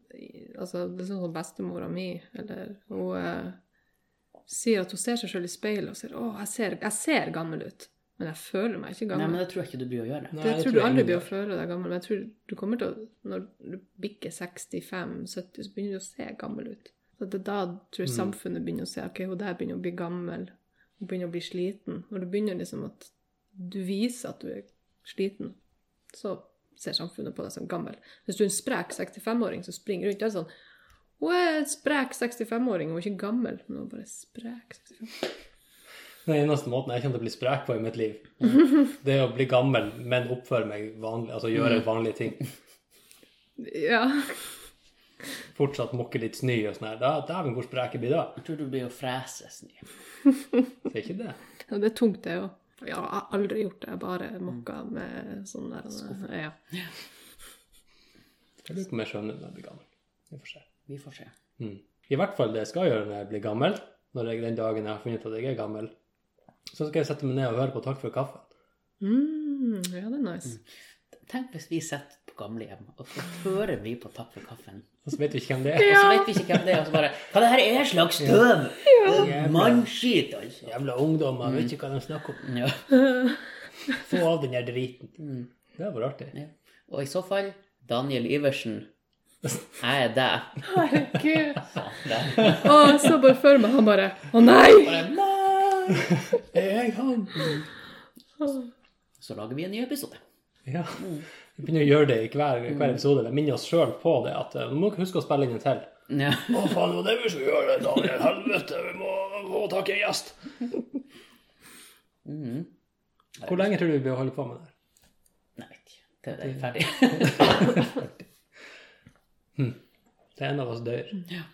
C: altså Det er sånn som bestemora mi eller Hun eh, sier at hun ser seg sjøl i speilet og sier 'Å, jeg ser, jeg ser gammel ut'. Men jeg føler meg ikke
A: Nei,
C: gammel.
A: men det tror jeg ikke du blir å gjøre.
B: Nei,
C: For jeg
B: det
C: tror du aldri
B: ingen
C: blir å
B: gjør.
C: føle deg gammel, men jeg tror du kommer til å Når du bikker 65-70, så begynner du å se gammel ut. Så det er da tror jeg
B: Mm.
C: samfunnet begynner å se ok, hun der begynner å bli gammel, hun begynner å bli sliten. Når du begynner liksom at du viser at du er sliten, så ser samfunnet på deg som gammel. Hvis du er en sprek 65-åring som springer rundt, da er det sånn Hun er en sprek 65-åring, hun er ikke gammel, men hun er bare sprek 65
B: Den eneste måten jeg kommer til å bli sprek på i mitt liv, det er å bli gammel, men oppføre meg vanlig, altså
C: Mm.
B: gjøre vanlige ting.
C: Ja.
B: Fortsatt mokke litt snø og sånn her. Da, Dæven, hvor sprek jeg blir da.
A: Jeg tror du blir å frese snø.
B: Det er ikke det.
C: Ja, det er tungt, det òg. Ja, jeg har aldri gjort det. Jeg bare mokka med sånn der ja.
B: Jeg lurer på om jeg skjønner når jeg blir gammel. Vi får se.
A: Vi får se.
B: Mm. I hvert fall det jeg skal gjøre når jeg blir gammel, når jeg, den dagen jeg har funnet ut at jeg er gammel, så skal jeg sette meg ned og høre på Takk for kaffen.
C: Mm, ja, det er nice.
A: Tenk hvis vi sitter på gamlehjem, og så hører vi på Takk for kaffen.
B: Og så vet vi ikke hvem det er.
A: Og så vet vi ikke hvem det er, og så bare Hva det her er slags støv?
B: Jævla-
A: Mannskit, altså.
B: Jævla ungdommer, vet ikke hva de snakker om.
A: Ja.
B: Få av den der driten.
A: Mm.
B: Det hadde vært artig.
A: Ja. Og i så fall, Daniel Iversen, jeg er deg.
C: Herregud.
A: Sa han der.
C: Å, jeg så bare for meg han bare Å nei!
A: Bare, «Nei!»
B: Er jeg han?
A: Så lager vi en ny episode.
B: Ja. Vi begynner å gjøre det i hver, hver episode. Vi minner oss sjøl på det. at eh, Nå må dere huske å spille inn en til.
A: Ja.
B: Å, faen, det var det vi skulle gjøre, Daniel. Helvete, vi må få tak i en gjest.
A: Mm.
B: Hvor lenge tror du vi bør holde på med det? her?
A: Nei, vet ikke. Til det er ferdig.
B: Til en av oss dør.
A: Ja.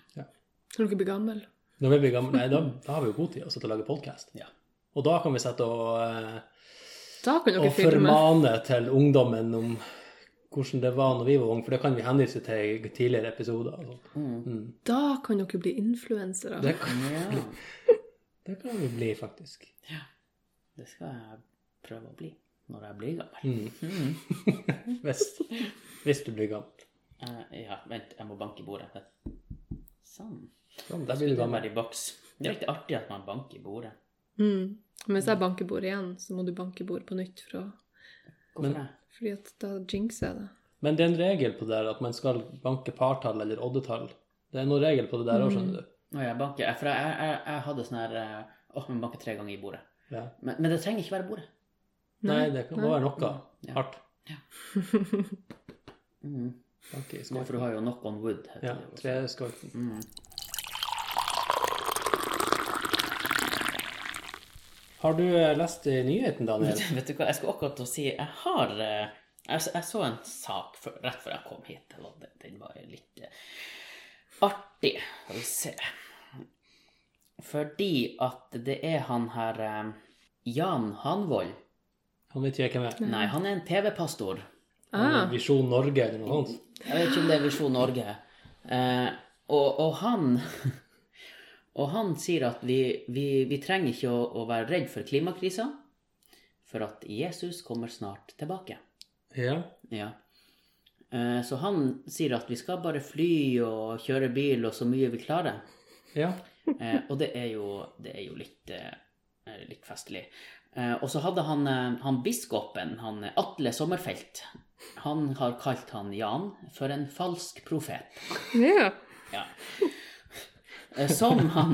C: Når dere blir gammel.
B: Når vi blir gamle, nei, da, da har vi jo god tid å sitte og lage podkast.
A: Ja.
B: Og da kan vi sitte og, eh,
C: Da kan dere
B: og
C: filme.
B: formane til ungdommen om hvordan det var når vi var unge, for det kan vi henvise til i tidligere episoder. og sånt.
A: Mm.
C: Da kan dere bli influensere.
B: Det, kan-
A: ja.
B: det kan vi bli, faktisk.
A: Det skal jeg prøve å bli når jeg blir gammel.
B: Mm. Hvis, hvis du blir gammel.
A: Eh, ja, vent, jeg må banke i bordet. Sånn.
B: Sånn, der blir du
A: Det
B: gammel.
A: er i boks. Det er litt artig at man banker i bordet.
C: Mm. Men hvis jeg banker bord igjen, så må du banke bord på nytt. Fra,
A: Hvorfor
B: Men-
A: det?
C: fordi at da jinxer jeg det.
B: Men det er en regel på det der at man skal banke partall eller oddetall. Det er noen regel på det der òg, skjønner du.
A: Å, jeg banker. For jeg, jeg, jeg hadde sånn her eh, Åh, man banker tre ganger i bordet.
B: Ja.
A: Men, men det trenger ikke være bordet.
B: Nei, det kan
C: Mm. nei.
B: være noe
A: Ja.
B: hardt.
A: Mm.
B: Banke i
A: For
B: skål.
A: du har jo knock on wood. heter
B: Ja,
A: det jo.
B: treskorten.
A: Mm.
B: Har du eh, lest i nyheten, Daniel?
A: Vet du hva, jeg skulle akkurat til å si Jeg har eh, Jeg, s- jeg så en sak før- rett før jeg kom hit. og Den, den var jo litt eh, artig. Skal vi se Fordi at det er han her eh, Jan Hanvold.
B: Han vet ikke hvem jeg er.
A: Nei, han er en TV-pastor.
B: Han
C: Ah,
B: er Visjon Norge eller noe sånt.
A: Jeg vet ikke om det er Visjon Norge. Eh, og, og han Og han sier at vi, vi, vi trenger ikke å, å være redd for klimakrisa, for at Jesus kommer snart tilbake.
B: Ja.
A: Ja. Eh, Så han sier at vi skal bare fly og kjøre bil og så mye vi klarer.
B: ja.
A: Eh, Og det er jo, det er jo litt, eh, litt festlig. Eh, Og så hadde han, eh, han biskopen, han Atle Sommerfelt, han har kalt han Jan for en falsk profet.
C: ja.
A: Ja. Eh, Som han,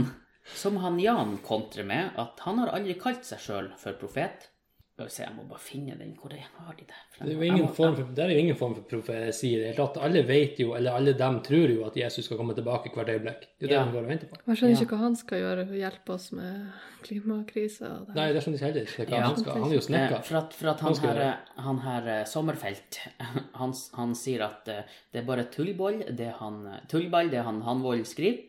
A: som han Jan kontrer med, at han har aldri kalt seg sjøl for profet. Skal vi se, jeg må bare finne den. Hvor er har de der?
B: Det er jo ingen form for, det er jo ingen form for profesi i det hele tatt. Alle vet jo, eller alle dem tror jo at Jesus skal komme tilbake hvert øyeblikk. Det er jo det
A: Ja.
B: de går og venter på.
C: Jeg skjønner ikke hva han skal gjøre for å hjelpe oss med klimakrisa. og det her.
B: Nei, det skjønner jeg heller ikke.
A: Ja.
B: hva Han, skal, han er jo
A: Eh,
B: snekker.
A: For at, for at han,
B: Hva skal
A: her,
B: vi
A: eh, han her eh, Sommerfelt, han, s- han sier at eh, det er bare tullboll, det han, eh, tullball, det han Hanvold skriver.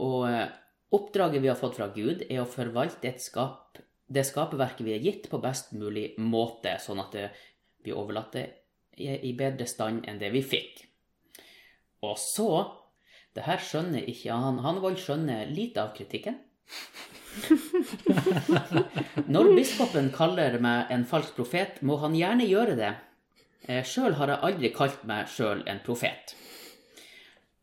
A: Og eh, oppdraget vi har fått fra Gud, er å forvalte et skap, det skaperverket vi er gitt, på best mulig måte, sånn at det, vi overlater i i bedre stand enn det vi fikk. Og så det her skjønner ikke han. Hanvold skjønner lite av kritikken. Når biskopen kaller meg en falsk profet, må han gjerne gjøre det. Eh, Sjøl har jeg aldri kalt meg sjøl en profet.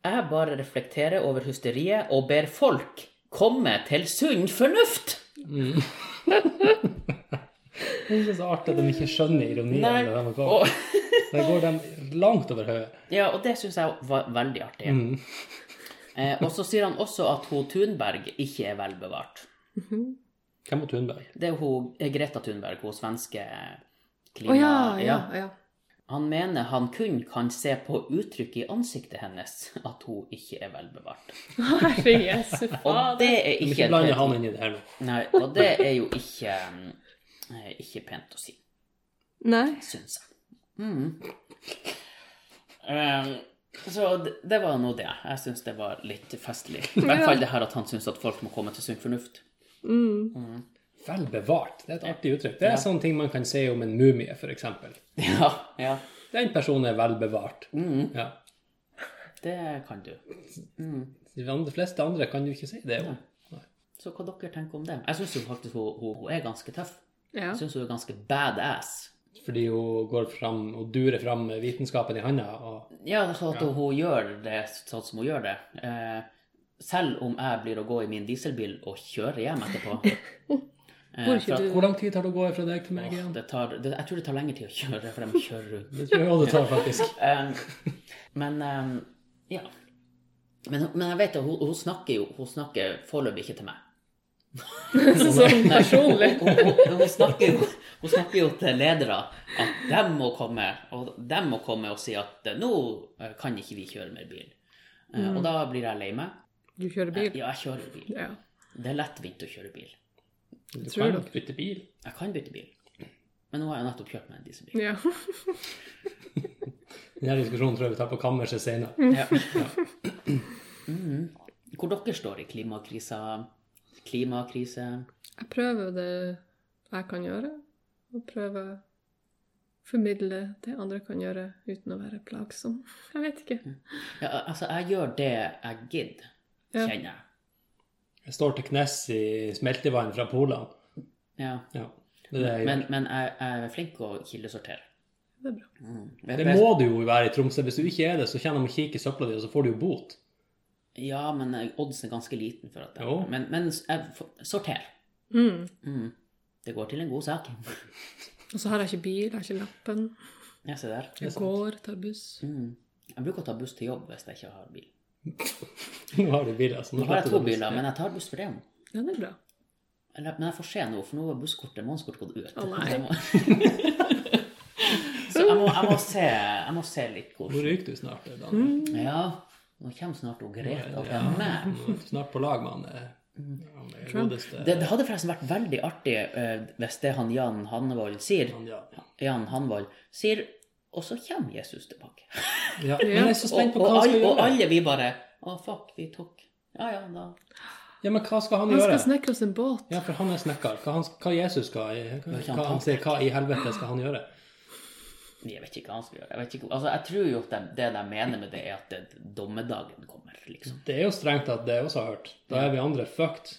A: Jeg bare reflekterer over hysteriet og ber folk komme til sunn fornuft!
B: Mm. Det er ikke så artig at de ikke skjønner ironien.
A: Nei,
B: når de går.
A: Og,
B: Da går de langt over hodet.
A: ja, og det syns jeg var veldig artig.
B: Mm.
A: Eh, og så sier han også at hun Thunberg ikke er vel bevart.
B: Hvem var Thunberg?
A: Det er jo hun eh, Greta Thunberg, hun svenske
C: Å
A: klima...
C: ja, ja, ja.
A: Han mener han kun kan se på uttrykket i ansiktet hennes at hun ikke er vel bevart.
C: Herre jesu
A: Og det
C: fader.
A: er
B: Ikke,
A: ikke
B: ikke
A: en
B: blande
A: pen-
B: han inn i det her nå.
A: Nei, og det er jo ikke eh, ikke pent å si,
C: Nei.
A: syns jeg. Mm. Eh, så det, det var nå det. Jeg syns det var litt festlig. I hvert fall det her at han syns at folk må komme til sunn fornuft.
C: Mm.
B: Vel bevart. Det er et artig uttrykk. Det
A: Ja.
B: er sånne ting man kan si om en mumie, f.eks.
A: Ja, ja.
B: Den personen er vel bevart.
A: Mm,
B: Ja.
A: det kan du. Mm.
B: De andre- fleste andre kan jo ikke si det. jo.
A: Så hva dere tenker om det? Jeg syns jo faktisk hun, hun, hun er ganske tøff.
C: Ja.
A: Jeg syns hun er ganske badass.
B: Fordi hun går fram og durer fram med vitenskapen i handa. Og...
A: Ja, altså at
B: Ja.
A: hun gjør det sånn som hun gjør det. Eh, selv om jeg blir å gå i min dieselbil og kjøre hjem etterpå. Eh,
C: Hvorfor
A: for at-
C: du-
B: Hvor lang tid tar det å gå fra deg til meg
A: Åh,
B: igjen?
A: det tar, det, jeg tror det tar lenger tid å kjøre, for jeg må kjøre rundt.
B: Det tror jeg også det tar, faktisk.
A: Eh, men eh, ja. Men, men jeg vet at hun, hun snakker jo Hun snakker foreløpig ikke til meg.
C: Sånn
A: Nei,
C: personlig.
A: Hun, hun, hun, snakker jo, hun snakker jo til ledere at de må komme og de må komme og si at eh, nå eh, kan ikke vi kjøre mer bil. Eh,
B: Mm.
A: Og da blir jeg lei meg.
C: Du kjører
A: Eh,
C: bil?
A: Ja, jeg kjører bil.
C: Ja.
A: Det er lettvint å kjøre bil.
B: Du
C: Tror
B: kan
C: du?
B: nok bytte bil.
A: Jeg kan bytte bil. Men nå har jeg nettopp kjørt meg en dieselbil.
C: ja.
B: Denne diskusjonen tror jeg vi tar på kammerset
C: Mm.
B: senere.
A: Ja. Mhm. Hvor dere står i klimakrisa, klimakrise
C: Jeg prøver det jeg kan gjøre, og prøver å formidle det andre kan gjøre uten å være plagsom. Jeg vet ikke.
A: ja, Altså, jeg gjør det jeg gidder,
C: Ja.
A: kjenner jeg.
B: Jeg står til knes i smeltevann fra Polen.
A: Ja.
B: Ja, det er det jeg gjør.
A: Men, men jeg, jeg er flink å kildesortere.
C: Det er bra.
A: Mm.
B: Det må du jo være i Tromsø. Hvis du ikke er det, så kjenner de å kikke i søpla di, og så får du jo bot.
A: Ja, men oddsen er ganske liten for at det
B: Jo.
A: Men, men jeg f- sorter.
C: Mm.
A: Mm. Det går til en god sak.
C: Og så har jeg ikke bil, jeg har ikke lappen.
A: Jeg ser der.
B: Det er
C: Jeg
B: sant.
C: går, tar buss.
A: Mm. Jeg bruker å ta buss til jobb hvis jeg ikke har bil.
B: Nå har du bil, altså.
A: Nå har jeg
B: slipper
A: to
B: du
A: biler, men jeg tar buss for det.
C: Ja, det er bra.
A: Eller, men jeg får se nå, for nå har busskortet, månedskortet gått ut.
C: Å, nei.
A: Så jeg må- Så jeg må, jeg må, se, jeg må se litt
B: Nå
A: hvor
B: ryker du snart, Daniel.
A: Mm. Ja, nå kommer snart hun Greta
B: Ja,
A: til meg.
B: nå er du snart på lag med han eh, han er
C: Trump.
B: godeste
A: Mm. Det, det hadde forresten vært veldig artig eh, hvis det han Jan Hanvold sier,
B: han, ja.
A: Jan Hanvold sier Og så kommer Jesus tilbake.
B: ja. Men jeg er så spent
A: Og,
B: på
A: og,
B: hva han
A: alle,
B: skal
A: og
B: gjøre.
A: alle vi bare Å, fuck, vi tok Ja, ja, da
B: Ja, men hva skal han
C: Han skal
B: gjøre?
C: snekre oss en båt.
B: Ja, for han er snekker. Hva, han, hva Jesus skal hva,
A: ikke han
B: hva, han sier, hva i helvete skal han gjøre?
A: Jeg vet ikke hva han skal gjøre. Jeg, vet ikke, altså, jeg tror jo at det, det de mener med det, er at det, dommedagen kommer, liksom.
B: Det er jo strengt tatt det jeg også har hørt. Da er vi andre fucked.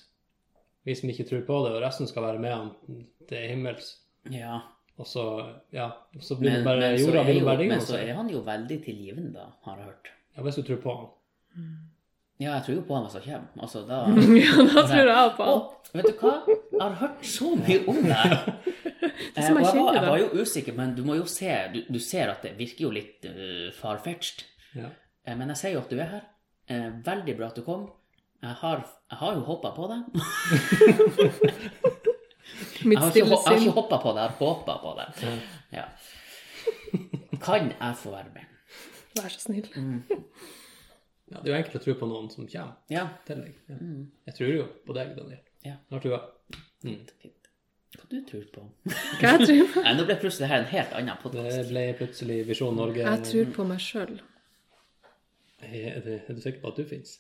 B: Vi som ikke tror på det, og resten skal være med han til himmels.
A: Ja.
B: Og så, ja, så blir
A: Men,
B: det bare
A: men, så,
B: jorda
A: er
B: vil
A: jo,
B: bare ringe
A: men
B: oss.
A: så
C: altså.
A: er han jo veldig tilgivende, da, har jeg hørt.
B: Ja, hvis du tror på han.
A: Ja, jeg tror jo på han hvis han kommer. Altså, da
C: Ja, da tror jeg på han.
A: Å, vet du hva? Jeg har hørt så mye om det.
C: er
A: Eh,
C: som
A: og jeg,
C: jeg
A: var,
C: kjenner
A: jeg
C: det.
A: var jo usikker, men du må jo se Du, du ser at det virker jo litt uh, farfetched.
B: Ja.
A: Eh, men jeg ser jo at du er her. Eh, veldig bra at du kom. Jeg har, jeg har jo hoppa på deg. Jeg
C: Mitt
A: har ikke,
C: stille
A: hop- jeg har
C: sinn.
A: ikke hoppa på deg, jeg har håpa på deg. Ja. Kan jeg få være med?
C: Vær så snill.
B: ja, det er jo enkelt å tro på noen som kommer
A: Ja.
B: til deg. Ja. Jeg tror jo på deg, Daniel.
A: Ja.
B: Har trua.
A: Fint. Hva du tror på?
C: Hva jeg tror på?
A: Nei, nå ble plutselig det her en helt annen
B: Det
A: podkast.
B: ble plutselig Visjon Norge.
C: Jeg tror på meg sjøl.
B: Er, du, er du sikker på at du fins?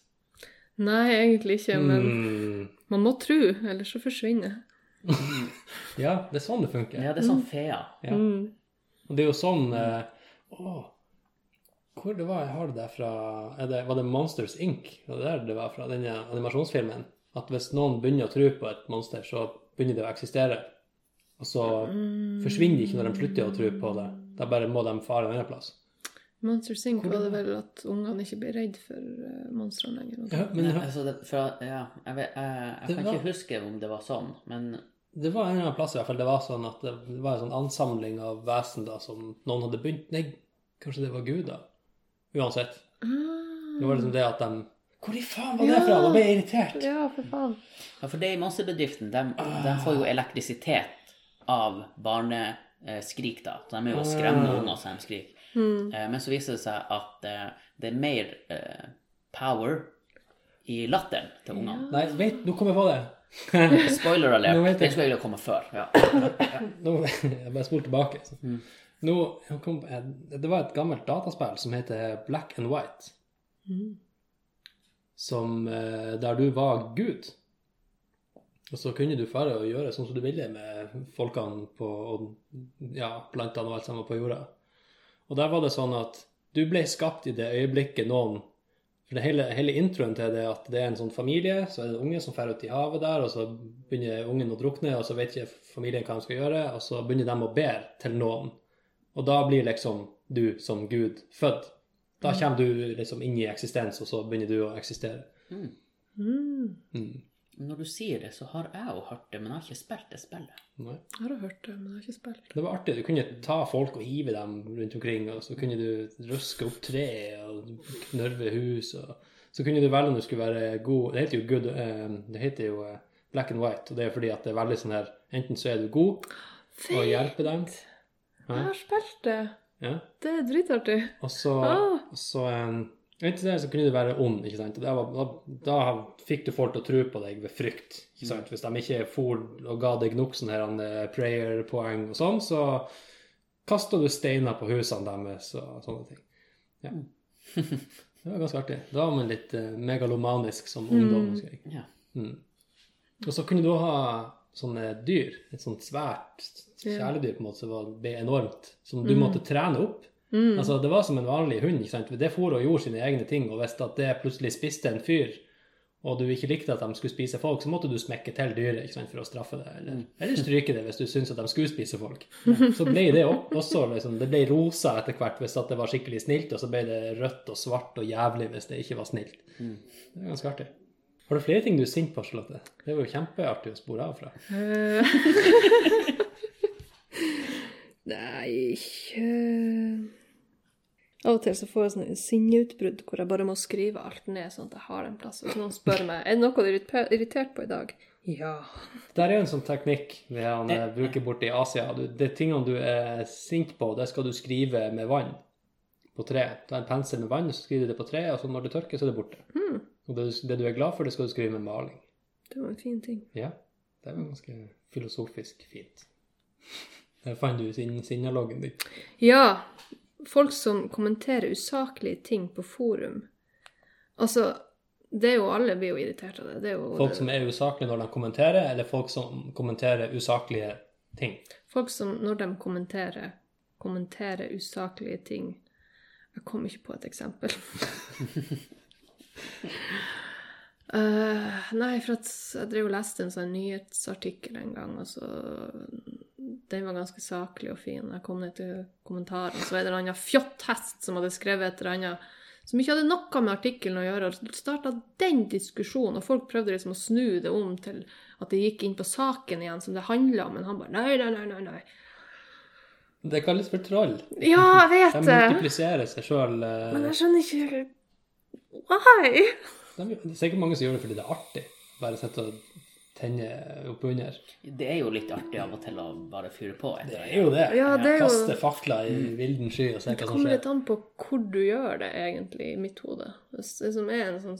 C: Nei, egentlig ikke, men
B: Mm.
C: man må tro, ellers så forsvinner jeg.
B: Ja, det er sånn det funker.
A: Ja, det er sånn fea.
B: Ja.
C: Mm.
B: Og det er jo sånn eh, Å, hvor det var jeg har det der fra er det, Var det Monsters Inc.? Var det der det var fra denne animasjonsfilmen? At hvis noen begynner å tro på et monster, så begynner det å eksistere. Og så forsvinner de ikke når de slutter å tro på det. Da bare må de fare en annen plass.
C: Monster Sink var det vel at ungene ikke ble redd for eh, monstrene lenger.
B: Ja, men
A: Nei, altså det, fra, ja, jeg, vet, jeg, jeg
B: Det
A: kan
B: var-
A: ikke huske om det var sånn, men
B: Det var en eller annen plass i hvert fall, det var sånn at det var en sånn ansamling av vesen da, som noen hadde begynt Nei, kanskje det var Gud, da. Uansett.
C: Ah.
B: Det var liksom det at de Hvor i faen var det
C: Ja.
B: fra? Da ble jeg irritert.
C: Ja, for faen.
A: Ja, for det i monsterbedriften, de, de får jo elektrisitet av barneskrik, da. Så de er jo å skremme unger så de skriker.
C: Mm.
A: Eh, Men så viser det seg at eh, det er mer eh, power i latteren til ungene.
B: Nei, vent, nå kom jeg på det.
A: Spoiler alert.
B: Nå vet jeg.
A: Det skulle egentlig komme før. Ja.
B: nå, jeg bare spol tilbake. Så. Nå, jeg kom, jeg, det var et gammelt dataspill som heter Black and White.
C: Hmm.
B: Som, eh, der du var Gud. Og så kunne du fare og gjøre sånn som du ville med folkene på, og ja, plantene og alt sammen på jorda. Og der var det sånn at du ble skapt i det øyeblikket noen For det hele, hele introen til det at det er en sånn familie, så er det en unge som drar ut i havet der, og så begynner ungen å drukne, og så vet ikke familien hva de skal gjøre, og så begynner de å be til noen. Og da blir liksom du som Gud født. Da kommer du liksom inn i eksistens, og så begynner du å eksistere.
C: Mm.
B: Mm.
A: Hmm. Når du sier det, så har jeg jo hørt det, men jeg har ikke spilt det spillet.
B: Nei.
C: Jeg har hørt det, men jeg har ikke spilt.
B: Det var artig. Du kunne ta folk og hive dem rundt omkring, og så kunne du røske opp tre og knørve hus. og Så kunne du velge om du skulle være god Det heter jo, good, eh, det heter jo eh, black and white, og det er fordi at det er veldig sånn her Enten så er du god og hjelper dem,
C: Jeg har spilt det.
B: ja.
C: Det er dritartig.
B: og så,
C: Ah.
B: og så eh, Enten det, så kunne du være ond, ikke sant. Og det var, da, da fikk du folk til å tro på deg ved frykt. ikke sant? Hvis de ikke for og ga deg nok sånne her, eh, prayer-poeng og sånn, så kasta du steiner på husene deres og sånne ting. Ja. Det var ganske artig. Da var man litt eh, megalomanisk som ungdom. husker jeg.
A: Ja.
B: Mm. Og så kunne du også ha sånne dyr, et sånt svært kjæledyr på en måte som var- ble enormt, som du måtte trene opp.
C: Hmm. Mm.
B: Altså, det var som en vanlig hund. ikke sant? Det for og gjorde sine egne ting, og hvis at det plutselig spiste en fyr, og du ikke likte at de skulle spise folk, så måtte du smekke til dyret ikke sant, for å straffe det, eller, eller stryke det hvis du syntes at de skulle spise folk. Så ble det o- også liksom, det ble rosa etter hvert hvis at det var skikkelig snilt, og så ble det rødt og svart og jævlig hvis det ikke var snilt. Det er ganske artig. Har du flere ting du er sint på, Charlotte? Det var jo kjempeartig å spore av fra.
C: Eh. Nei eh. Av og til så får jeg sånne sinneutbrudd hvor jeg bare må skrive alt ned, sånn at jeg har en plass. Hvis noen spør meg er det noe du er irrite- irritert på i dag Ja.
B: Der er jo en sånn teknikk vi han eh, bruker borte i Asia. Du, det tingene du er sint på, det skal du skrive med vann på tre. Ta en pensel med vann, så skriver du det på tre, og så når det tørker, så er det borte.
C: Hmm.
B: Og det, du- det du er glad for, det skal du skrive med maling.
C: Det var en fin ting.
B: Ja, det er jo ganske filosofisk fint. Der fant du sin sinnaloggen din.
C: Ja. Folk som kommenterer usaklige ting på forum. Altså, det er jo alle blir jo irritert av det. Det er jo
B: Folk som er usaklige når de kommenterer, eller folk som kommenterer usaklige ting.
C: Folk som, når de kommenterer, kommenterer usaklige ting. Jeg kom ikke på et eksempel. Eh, nei, for at jeg drev og leste en sånn nyhetsartikkel en gang, og så Den var ganske saklig og fin. Jeg kom ned til kommentaren, så var det en eller annen fjotthest som hadde skrevet et eller annet som ikke hadde noe med artikkelen å gjøre. og starta den diskusjonen, og folk prøvde liksom å snu det om til at det gikk inn på saken igjen, som det handla om, men han bare nei, nei, nei, nei. nei.
B: Det kalles for troll.
C: Ja, jeg
B: De
C: vet det!
B: multipliserer seg eh, sjøl.
C: Men jeg skjønner ikke Why?
B: Det er sikkert mange som gjør det fordi det er artig. Bare sitte og tenne oppunder.
A: Det er jo litt artig av og til å bare fyre på.
B: Det
A: Etter.
B: er jo det.
C: Ja, det er jo-
B: Kaste fakler i vilden sky og se
C: Det
B: hva som
C: kommer litt
B: sånn skjer.
C: an på hvor du gjør det, egentlig, i mitt hode. Hvis det som er en sånn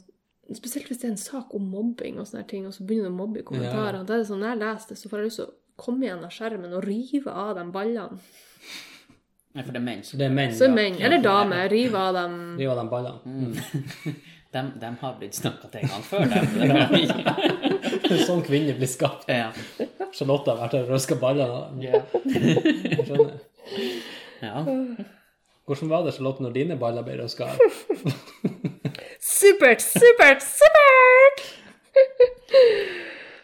C: Spesielt hvis det er en sak om mobbing, og sånne her ting, og så begynner du å mobbe i kommentarene. Da er det sånn, Når jeg leser det, så får jeg lyst til å komme igjen av skjermen og rive av de ballene.
A: Nei, for det er menn.
B: Så det er menn.
C: Så
B: ja.
C: menn, eller damer, rive av dem
B: Det var de ballene.
A: De, de har blitt snakka til en gang før, dem.
B: Sånn kvinner blir skapt.
A: ja.
B: Charlotte har vært her og røska ballene av dem.
A: Ja.
B: Jeg skjønner.
A: ja.
B: Hvordan var det, Charlotte, når dine baller ble røska?
C: Supert, supert, supert!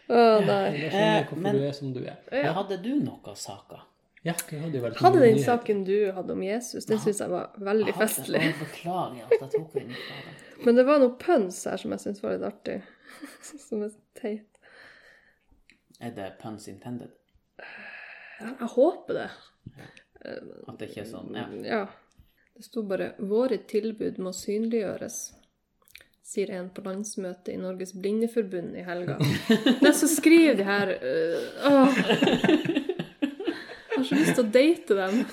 C: Å nei.
B: Jeg
A: Eh,
B: skjønner
A: men-
B: hvorfor du er som du er.
A: Hadde du noen saker?
B: Ja, du hadde jo veldig
C: Hadde den
B: mye-
C: saken du hadde om Jesus, den syns jeg var veldig
A: Jeg hadde-
C: festlig.
A: Å, Beklager at jeg tok den fra deg.
C: Men det var noe pønsk her som jeg syntes var litt artig. som er teit.
A: Eh, Er det puns intended?
C: Jeg, jeg håper det.
A: At det ikke er sånn? Ja.
C: Ja. Det sto bare 'Våre tilbud må synliggjøres', sier en på landsmøtet i Norges Blindeforbund i helga. Nei, så skriver de her øh, åh. Jeg har så lyst til å date dem.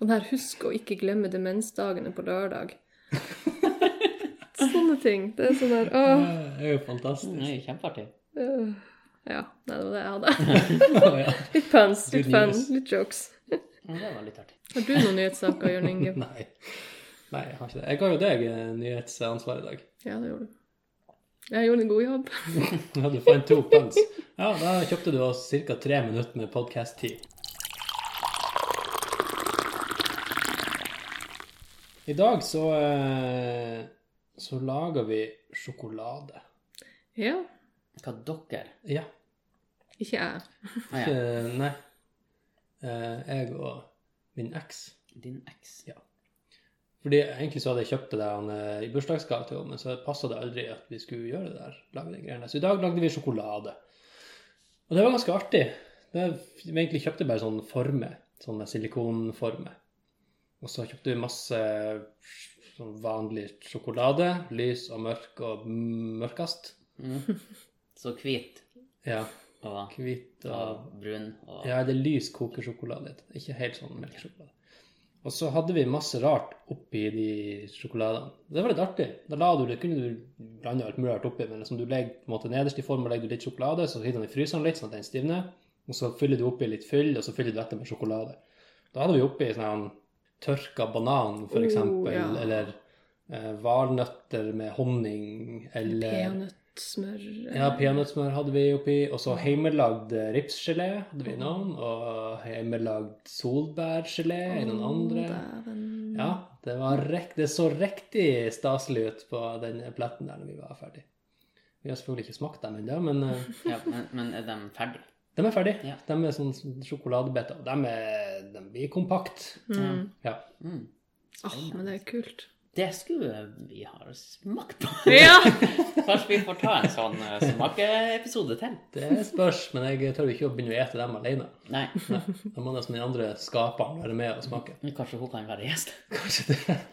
C: Og den her 'Husk å ikke glemme demensdagene på lørdag'. Sånne ting. Det er sånn der åh.
B: Det er jo fantastisk.
A: Det er jo kjempeartig.
C: øh. Ja. Nei, det var det jeg hadde.
B: Å, ja.
C: Litt puns,
B: Good
C: litt fun,
B: news.
C: litt jokes.
A: Ja, Det var litt artig.
C: Har du noen nyhetssaker, Jørn Inge?
B: Nei. Nei, jeg har ikke det. Jeg ga jo deg eh, nyhetsansvar i dag.
C: Ja, det gjorde du. Jeg gjorde en god jobb.
B: Ja, du fant to puns. Ja, da kjøpte du oss ca. tre minutter med podkast-tid. I dag så eh, så lager vi sjokolade.
C: Ja,
A: Hva dere
B: Ja,
C: ikke jeg.
A: ah, ja.
B: eh, nei. Eh, Jeg og min eks.
A: Din eks.
B: Fordi egentlig så hadde jeg kjøpt det der han, eh, i bursdagsgave til henne, men så passa det aldri at vi skulle gjøre det der. lage de greiene. der. Så i dag lagde vi sjokolade. Og det var ganske artig. Det, vi egentlig kjøpte bare sånn sånne former, sånne silikonformer. Og så kjøpte vi masse sånn vanlig sjokolade, lys og mørk og mørkest.
A: Mm. Så hvit
B: Ja,
A: og,
B: hvit og
A: og brun og
B: Ja, det er lys kokesjokolade. heter det. Ikke helt sånn melkesjokolade. Og så hadde vi masse rart oppi de sjokoladene. Det var litt artig. Da la du det, kunne du blande alt mulig rart oppi, men liksom du legger på en måte nederst i formen legger du litt sjokolade, så hiver den i fryseren litt sånn at den stivner, og så fyller du oppi litt fyll, og så fyller du dette med sjokolade. Da hadde vi oppi sånn her tørka banan, for
C: Oh,
B: eksempel,
C: ja.
B: eller eh, valnøtter med honning, eller
C: Peanøttsmør.
B: ja, peanøttsmør hadde vi oppi, og så hjemmelagd eh, ripsgelé hadde vi i noen, og hjemmelagd solbærgelé i noen andre. Ja, det, var rek det så riktig staselig ut på den pletten der når vi var ferdig. Vi har selvfølgelig ikke smakt dem ennå, men eh,
A: ja, men, men er de ferdige?
B: de er ferdige.
A: Ja.
B: De er sånn sjokoladebiter. og De, er- de blir kompakt.
C: Mm.
B: Ja.
A: Mm.
C: Åh, men det er kult.
A: Det skulle vi ha smakt på.
C: Ja!
A: Kanskje vi får ta en sånn eh, smakeepisode til?
B: Det spørs, men jeg tør jo ikke å begynne å ete dem alene.
A: Nei,
B: Nei, da må nesten den andre skaperen være med og smake.
A: men kanskje hun kan være gjest.
B: Kanskje det.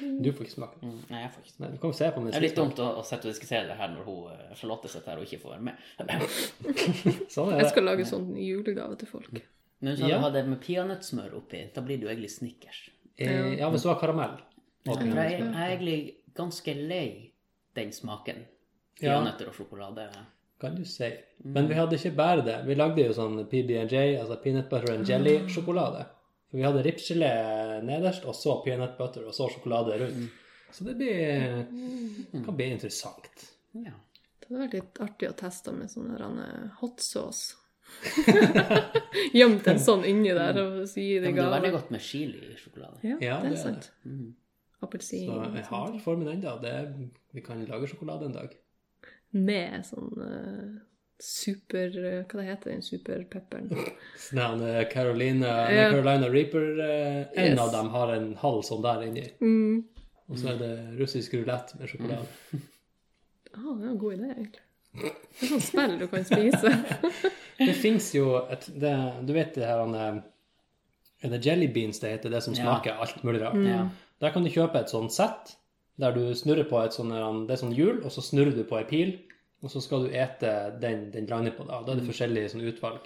B: Du får ikke smake.
A: Mm, Nei, jeg får ikke
B: Nei, du kan jo se på meg.
A: Det er litt dumt å, å sette og diskutere det her når hun eh, Charlotte sitter her og ikke får være med.
B: Sånn er
C: Jeg
B: det.
C: skal lage sånn julegave til folk.
A: Men hvis du
B: Ja.
A: hadde det med peanøttsmør oppi, da blir det jo egentlig Snickers.
B: Eh, Ja, hvis du har karamell.
A: For jeg jeg
B: Ja,
A: er egentlig ganske lei den smaken.
B: Ja.
A: Peanøtter og sjokolade.
B: kan du si. Men vi hadde ikke bare det. Vi lagde jo sånn PB&J, altså peanut butter and
C: Mm.
B: jelly-sjokolade. For Vi hadde ripsgelé nederst, og så peanut butter, og så sjokolade
A: Mm.
B: rundt. Så det blir,
C: Mm.
B: kan bli interessant.
A: Ja.
C: Det hadde vært litt artig å teste med sånn her eh, hot sauce. Gjemt en sånn inni der og så gi
A: Ja, Men
C: det
A: det er veldig
C: gave.
A: godt med chili i sjokolade.
C: Ja, det
B: Ja, det er
C: er
B: det.
C: sant.
A: Mm.
C: Appelsin.
B: Så
C: og
B: jeg
C: sånt.
B: har formen ennå. Vi kan lage sjokolade en dag.
C: Med sånn eh, super eh, Hva det heter den superpepperen?
B: Sånn her, eh, Carolina,
C: Ja.
B: Carolina Reaper eh, En
C: Yes.
B: av dem har en halv sånn der inni.
C: Mm.
B: Og så er det russisk rulett med sjokolade.
C: Ja, Ah, det er en god idé, egentlig. Det er sånn spill du kan spise.
B: Det fins jo et det, Du vet det her han, eh, Er det jelly beans det heter, det som
A: Ja. Mm.
B: smaker alt mulig rart?
A: Ja.
B: Der kan du kjøpe et sånt sett der du snurrer på et sånn her, han- Det er sånn hjul, og så snurrer du på ei pil, og så skal du ete den den lander på. Da Da
A: Mm.
B: er det forskjellige sånn utvalg.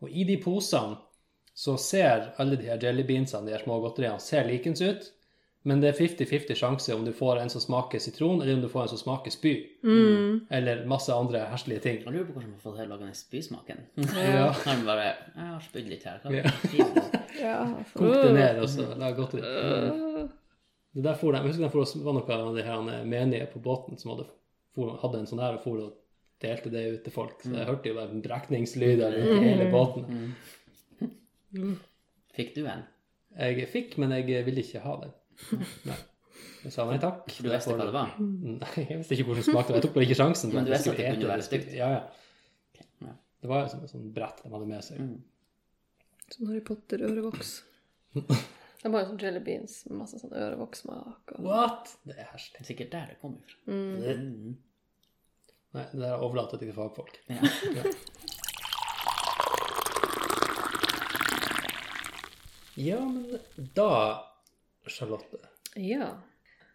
B: Og i de posene så ser alle de her jelly beansene, de her små godteriene, ser likens ut. Men det er 50-50 sjanse om du får en som smaker sitron, eller om du får en som smaker spy.
C: Mm.
A: Mm.
B: Eller masse andre herselige ting.
A: Jeg lurer på hvordan man får til å lage den spysmaken.
B: Ja.
A: Kan bare Jeg har spydd litt her. Kan
B: Ja.
A: du-
C: Ja,
B: Kokt det ned og så lag godt i det. Det der for de, jeg husker de for, det var noen av de her eh, menige på båten som hadde, for, hadde en sånn her og for og delte det ut til folk.
A: Mm.
B: Så jeg hørte jo bare brekningslyder rundt i hele båten.
A: Fikk du en?
B: Jeg fikk, men jeg ville ikke ha den. Nei. Jeg sa nei takk.
A: For du visste hva det var?
B: Nei, jeg visste ikke hvordan det smakte. Jeg tok bare ikke sjansen. på
A: Men du
B: jeg
A: visste at det
B: skulle
A: kunne
B: ete
A: være stygt?
B: Ja,
A: ja.
B: ja. Det var jo som et sånt brett de hadde med seg.
A: Mm.
C: Sånn Harry Potter-ørevoks. De har jo sånn jelly beans med masse sånn ørevoksmak. Og...
B: What?! Det er herselig.
A: Det er sikkert der det kommer fra.
C: Mm.
A: Mm.
B: Nei, det der overlater jeg til fagfolk.
A: Ja.
B: Ja, men da, Charlotte,
C: Ja.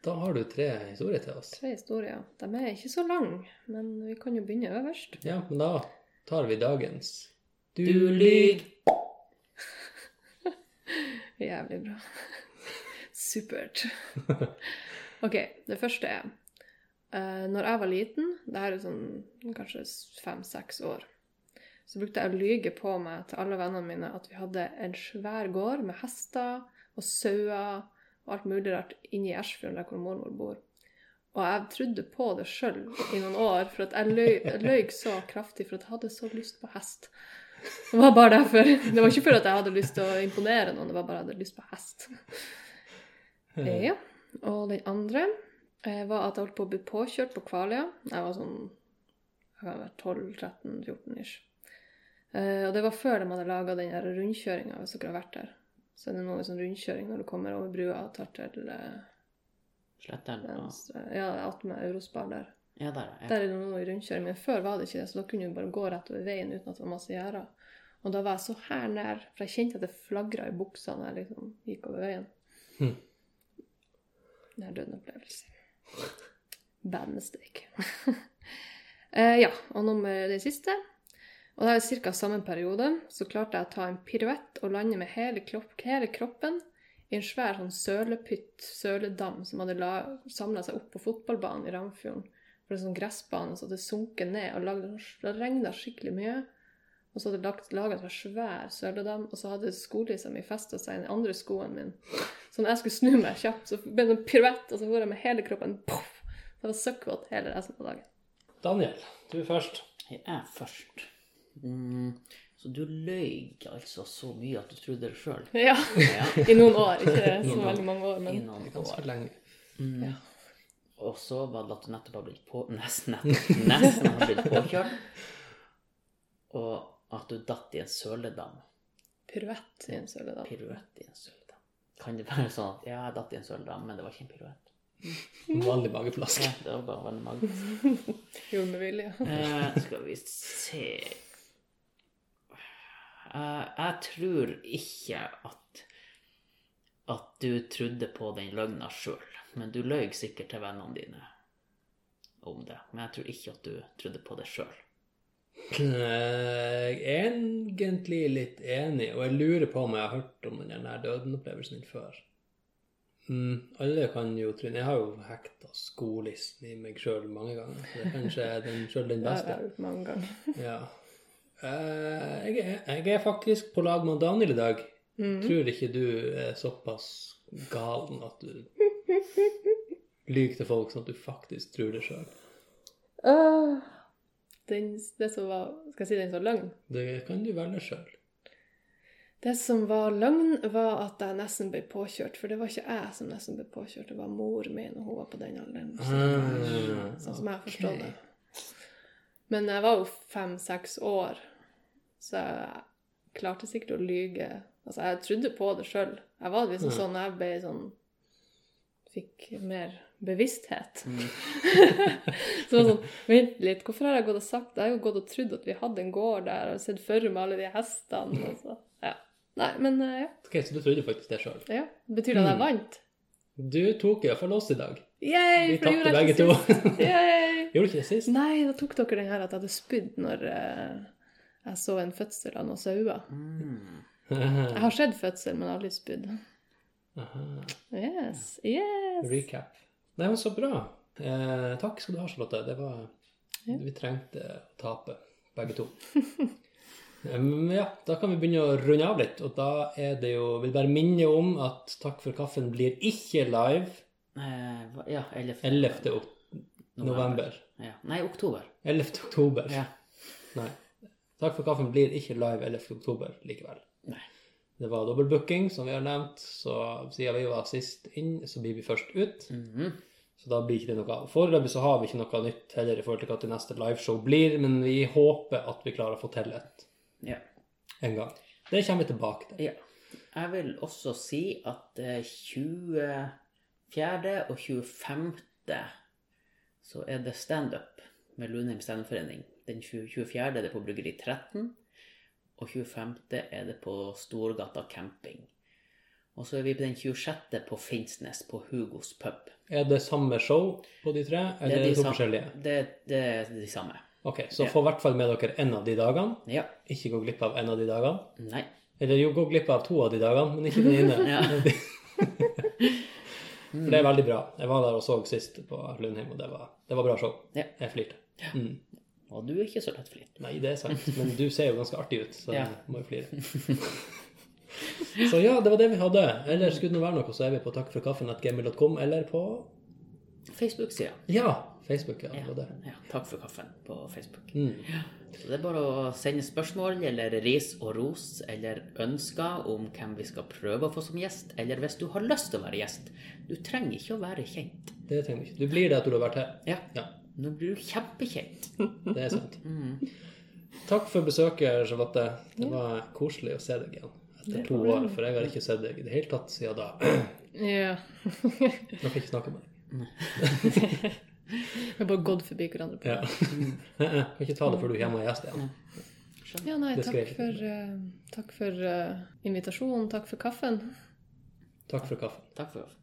B: da har du tre historier til oss.
C: Tre historier. De er ikke så lange, men vi kan jo begynne øverst.
B: Ja, men da tar vi dagens.
A: Du lyg!
C: Jævlig bra. Supert. Ok, det første er uh, Når jeg var liten, det her er sånn kanskje fem-seks år, så brukte jeg å lyge på meg til alle vennene mine at vi hadde en svær gård med hester og sauer og alt mulig rart inne i Ersfjorden, der hvor mormor bor. Og jeg trodde på det sjøl i noen år, for at jeg løy, jeg løy så kraftig for at jeg hadde så lyst på hest. Det var bare derfor. Det var ikke for at jeg hadde lyst til å imponere noen, det var bare at jeg hadde lyst på hest.
B: Eh,
C: Ja. Og den andre eh, var at jeg holdt på å bli påkjørt på Kvaløya. Jeg var sånn jeg kan være 12-13-14 ish. Eh, og det var før de hadde laga den der rundkjøringa, hvis dere har vært der. Så er det nå en sånn rundkjøring når du kommer over brua og tar til eh,
A: Sletteren og
C: venstre. Ja, attmed Eurospar der.
A: Ja, der, ja.
C: Der er det nå i rundkjøring, men før var det ikke det, så da kunne du bare gå rett over veien uten at det var masse gjerder. Og da var jeg så her nær, for jeg kjente at det flagra i buksa når jeg liksom gikk over veien.
B: Hm.
C: Nær døden opplevelse. Bad mistake. eh, ja, og nummer det siste. Og da er det ca. samme periode, så klarte jeg å ta en piruett og lande med hele, klopp, hele kroppen i en svær sånn sølepytt, søledam, som hadde samla seg opp på fotballbanen i Ramfjorden. For det er sånn gressbane, så det sunket ned og lagde, det regnet skikkelig mye. Og så hadde jeg laga en sånn svær søledam, og så hadde skolissa mi festa seg i den andre skoen min. Så når jeg skulle snu meg kjapt, så ble det en piruett, og så gjorde jeg med hele kroppen poff! Det var søkkvåt hele resten av dagen.
B: Daniel, du først.
A: Jeg er først. Mm. Så du løy altså så mye at du trodde det sjøl?
C: Ja,
A: Ja.
C: I noen år, ikke så veldig mange år, men
A: Innan
B: Ganske
A: år.
B: lenge.
A: Mm.
C: Ja.
A: Og så var det at du nettopp har blitt på... Nesten, nettopp, nesten har blitt påkjørt. Og at du datt i en søledam.
C: piruett i en søledam.
A: Piruett i en søledam. Kan det være sånn at ja, jeg datt i en søledam, men det var ikke en piruett?
B: Vanlig mageplask.
A: Ja, det var bare veldig mange.
C: Gjorde med vilje.
A: Eh, skal vi se Eh, Jeg tror ikke at at du trodde på den løgna sjøl, men du løy sikkert til vennene dine om det. Men jeg tror ikke at du trodde på det sjøl.
B: Eh, Jeg er egentlig litt enig, og jeg lurer på om jeg har hørt om den der døden-opplevelsen din før. Mm, alle kan jo tro Jeg har jo hekta skolissen i meg sjøl mange ganger. Så det er kanskje den, sjøl den
C: Det har
B: beste.
C: jeg gjort mange ganger.
B: Ja. Eh, jeg, er, jeg er faktisk på lag med Daniel i dag.
C: Mhm.
B: Tror ikke du er såpass galen at du lyver til folk sånn at du faktisk tror det sjøl.
C: Åh. Den, det som var Skal jeg si den som var løgn?
B: Det kan du velge sjøl.
C: Det som var løgn, var at jeg nesten ble påkjørt. For det var ikke jeg som nesten ble påkjørt, det var mor min, og hun var på den alderen.
B: Ah,
C: sånn som jeg forstår
B: ok.
C: det. Men jeg var jo fem-seks år, så jeg klarte sikkert å lyge. Altså, jeg trodde på det sjøl. Jeg var liksom
B: Mm.
C: sånn Jeg ble sånn Fikk mer bevissthet.
A: Mm.
C: Så det var sånn, vent litt, hvorfor har jeg gått og sagt det? Jeg har jo gått og trodd at vi hadde en gård der, og sett for meg alle de hestene. Og så. Ja. Nei, men eh, ja.
B: Ok, Så du trodde faktisk det sjøl?
C: ja. Betyr det at jeg
B: Mm.
C: vant?
B: Du tok iallfall oss i dag.
C: Yay,
B: Vi
C: for det
B: tapte
C: gjorde jeg
B: begge to.
C: ikke sist. Yay.
B: Gjorde ikke det sist?
C: Nei, da tok dere den her at jeg hadde spydd når eh, jeg så en fødsel av noen sauer.
A: Mm.
C: Jeg har sett fødsel, men aldri spydd.
B: Aha.
C: Yes, yes.
B: Recap. Nei, men så bra. Eh, takk skal du ha, Charlotte. Det var
C: Ja.
B: Vi trengte å tape, begge to. Um, ja, da kan vi begynne å runde av litt. Og da er det jo Vil bare minne om at Takk for kaffen blir ikke live
A: Eh, hva- ja, 11.
B: 11. ok- november.
A: Ja. Nei, oktober.
B: 11. oktober.
A: Ja.
B: Nei. Takk for kaffen blir ikke live 11. oktober likevel.
A: Nei.
B: Det var dobbeltbooking, som vi har nevnt. Så siden vi var sist inn, så blir vi først ut.
A: Mhm.
B: Så da blir ikke det noe av. Foreløpig så har vi ikke noe nytt heller i forhold til hva til neste liveshow blir, men vi håper at vi klarer å få til et
A: ja.
B: en gang. Det kommer vi tilbake til.
A: ja. Jeg vil også si at eh, 24. og 25. så er det standup med Lunheim Steinerforening. Den 20 24. er det på Bryggeri 13, og 25. er det på Storgata camping. Og så er vi på den 26. på Finnsnes, på Hugos pub.
B: Er det samme show på de tre, eller er det, to
A: sam-
B: forskjellige?
A: Det, det er de samme.
B: Ok, så
A: Ja.
B: få i hvert fall med dere en av de dagene.
A: Ja.
B: Ikke gå glipp av en av de dagene.
A: Nei.
B: Eller jo, gå glipp av to av de dagene, men ikke den ene.
A: Ja.
B: For det er veldig bra. Jeg var der og så sist på Lundheim, og det var, det var bra show.
A: Ja.
B: Jeg flirte. Mm.
A: Og du er ikke så lettflirt.
B: Nei, det er sant, men du ser jo ganske artig ut, så
A: Ja.
B: du må jo flire. Så ja, det var det vi hadde. Eller skulle det nå være noe, så er vi på takkforkaffen.gmil.com, eller på
A: Facebook-sida.
B: ja, Facebook. Ja, det var det.
A: Ja, takk for kaffen på Facebook.
B: Mm.
A: Så det er bare å sende spørsmål eller ris og ros eller ønsker om hvem vi skal prøve å få som gjest, eller hvis du har lyst til å være gjest. Du trenger ikke å være kjent.
B: Det trenger vi ikke. Du blir det etter du har vært her.
A: Ja,
B: Ja,
A: nå blir du kjempekjent.
B: det er sant. Takk for besøket, Charlotte. Det var koselig å se deg igjen etter to år, for jeg har ikke sett deg i det hele tatt siden da.
C: Ja.
B: Nå kan jeg ikke snakke med deg.
C: Vi har bare gått forbi hverandre. på
B: Ja. kan ikke ta det før du er hjemme og gjest igjen.
C: Ja, nei,
B: Det skrev jeg.
C: takk for, eh, takk for eh, invitasjonen, takk for kaffen.
B: Takk for kaffen.
A: Takk for kaffen.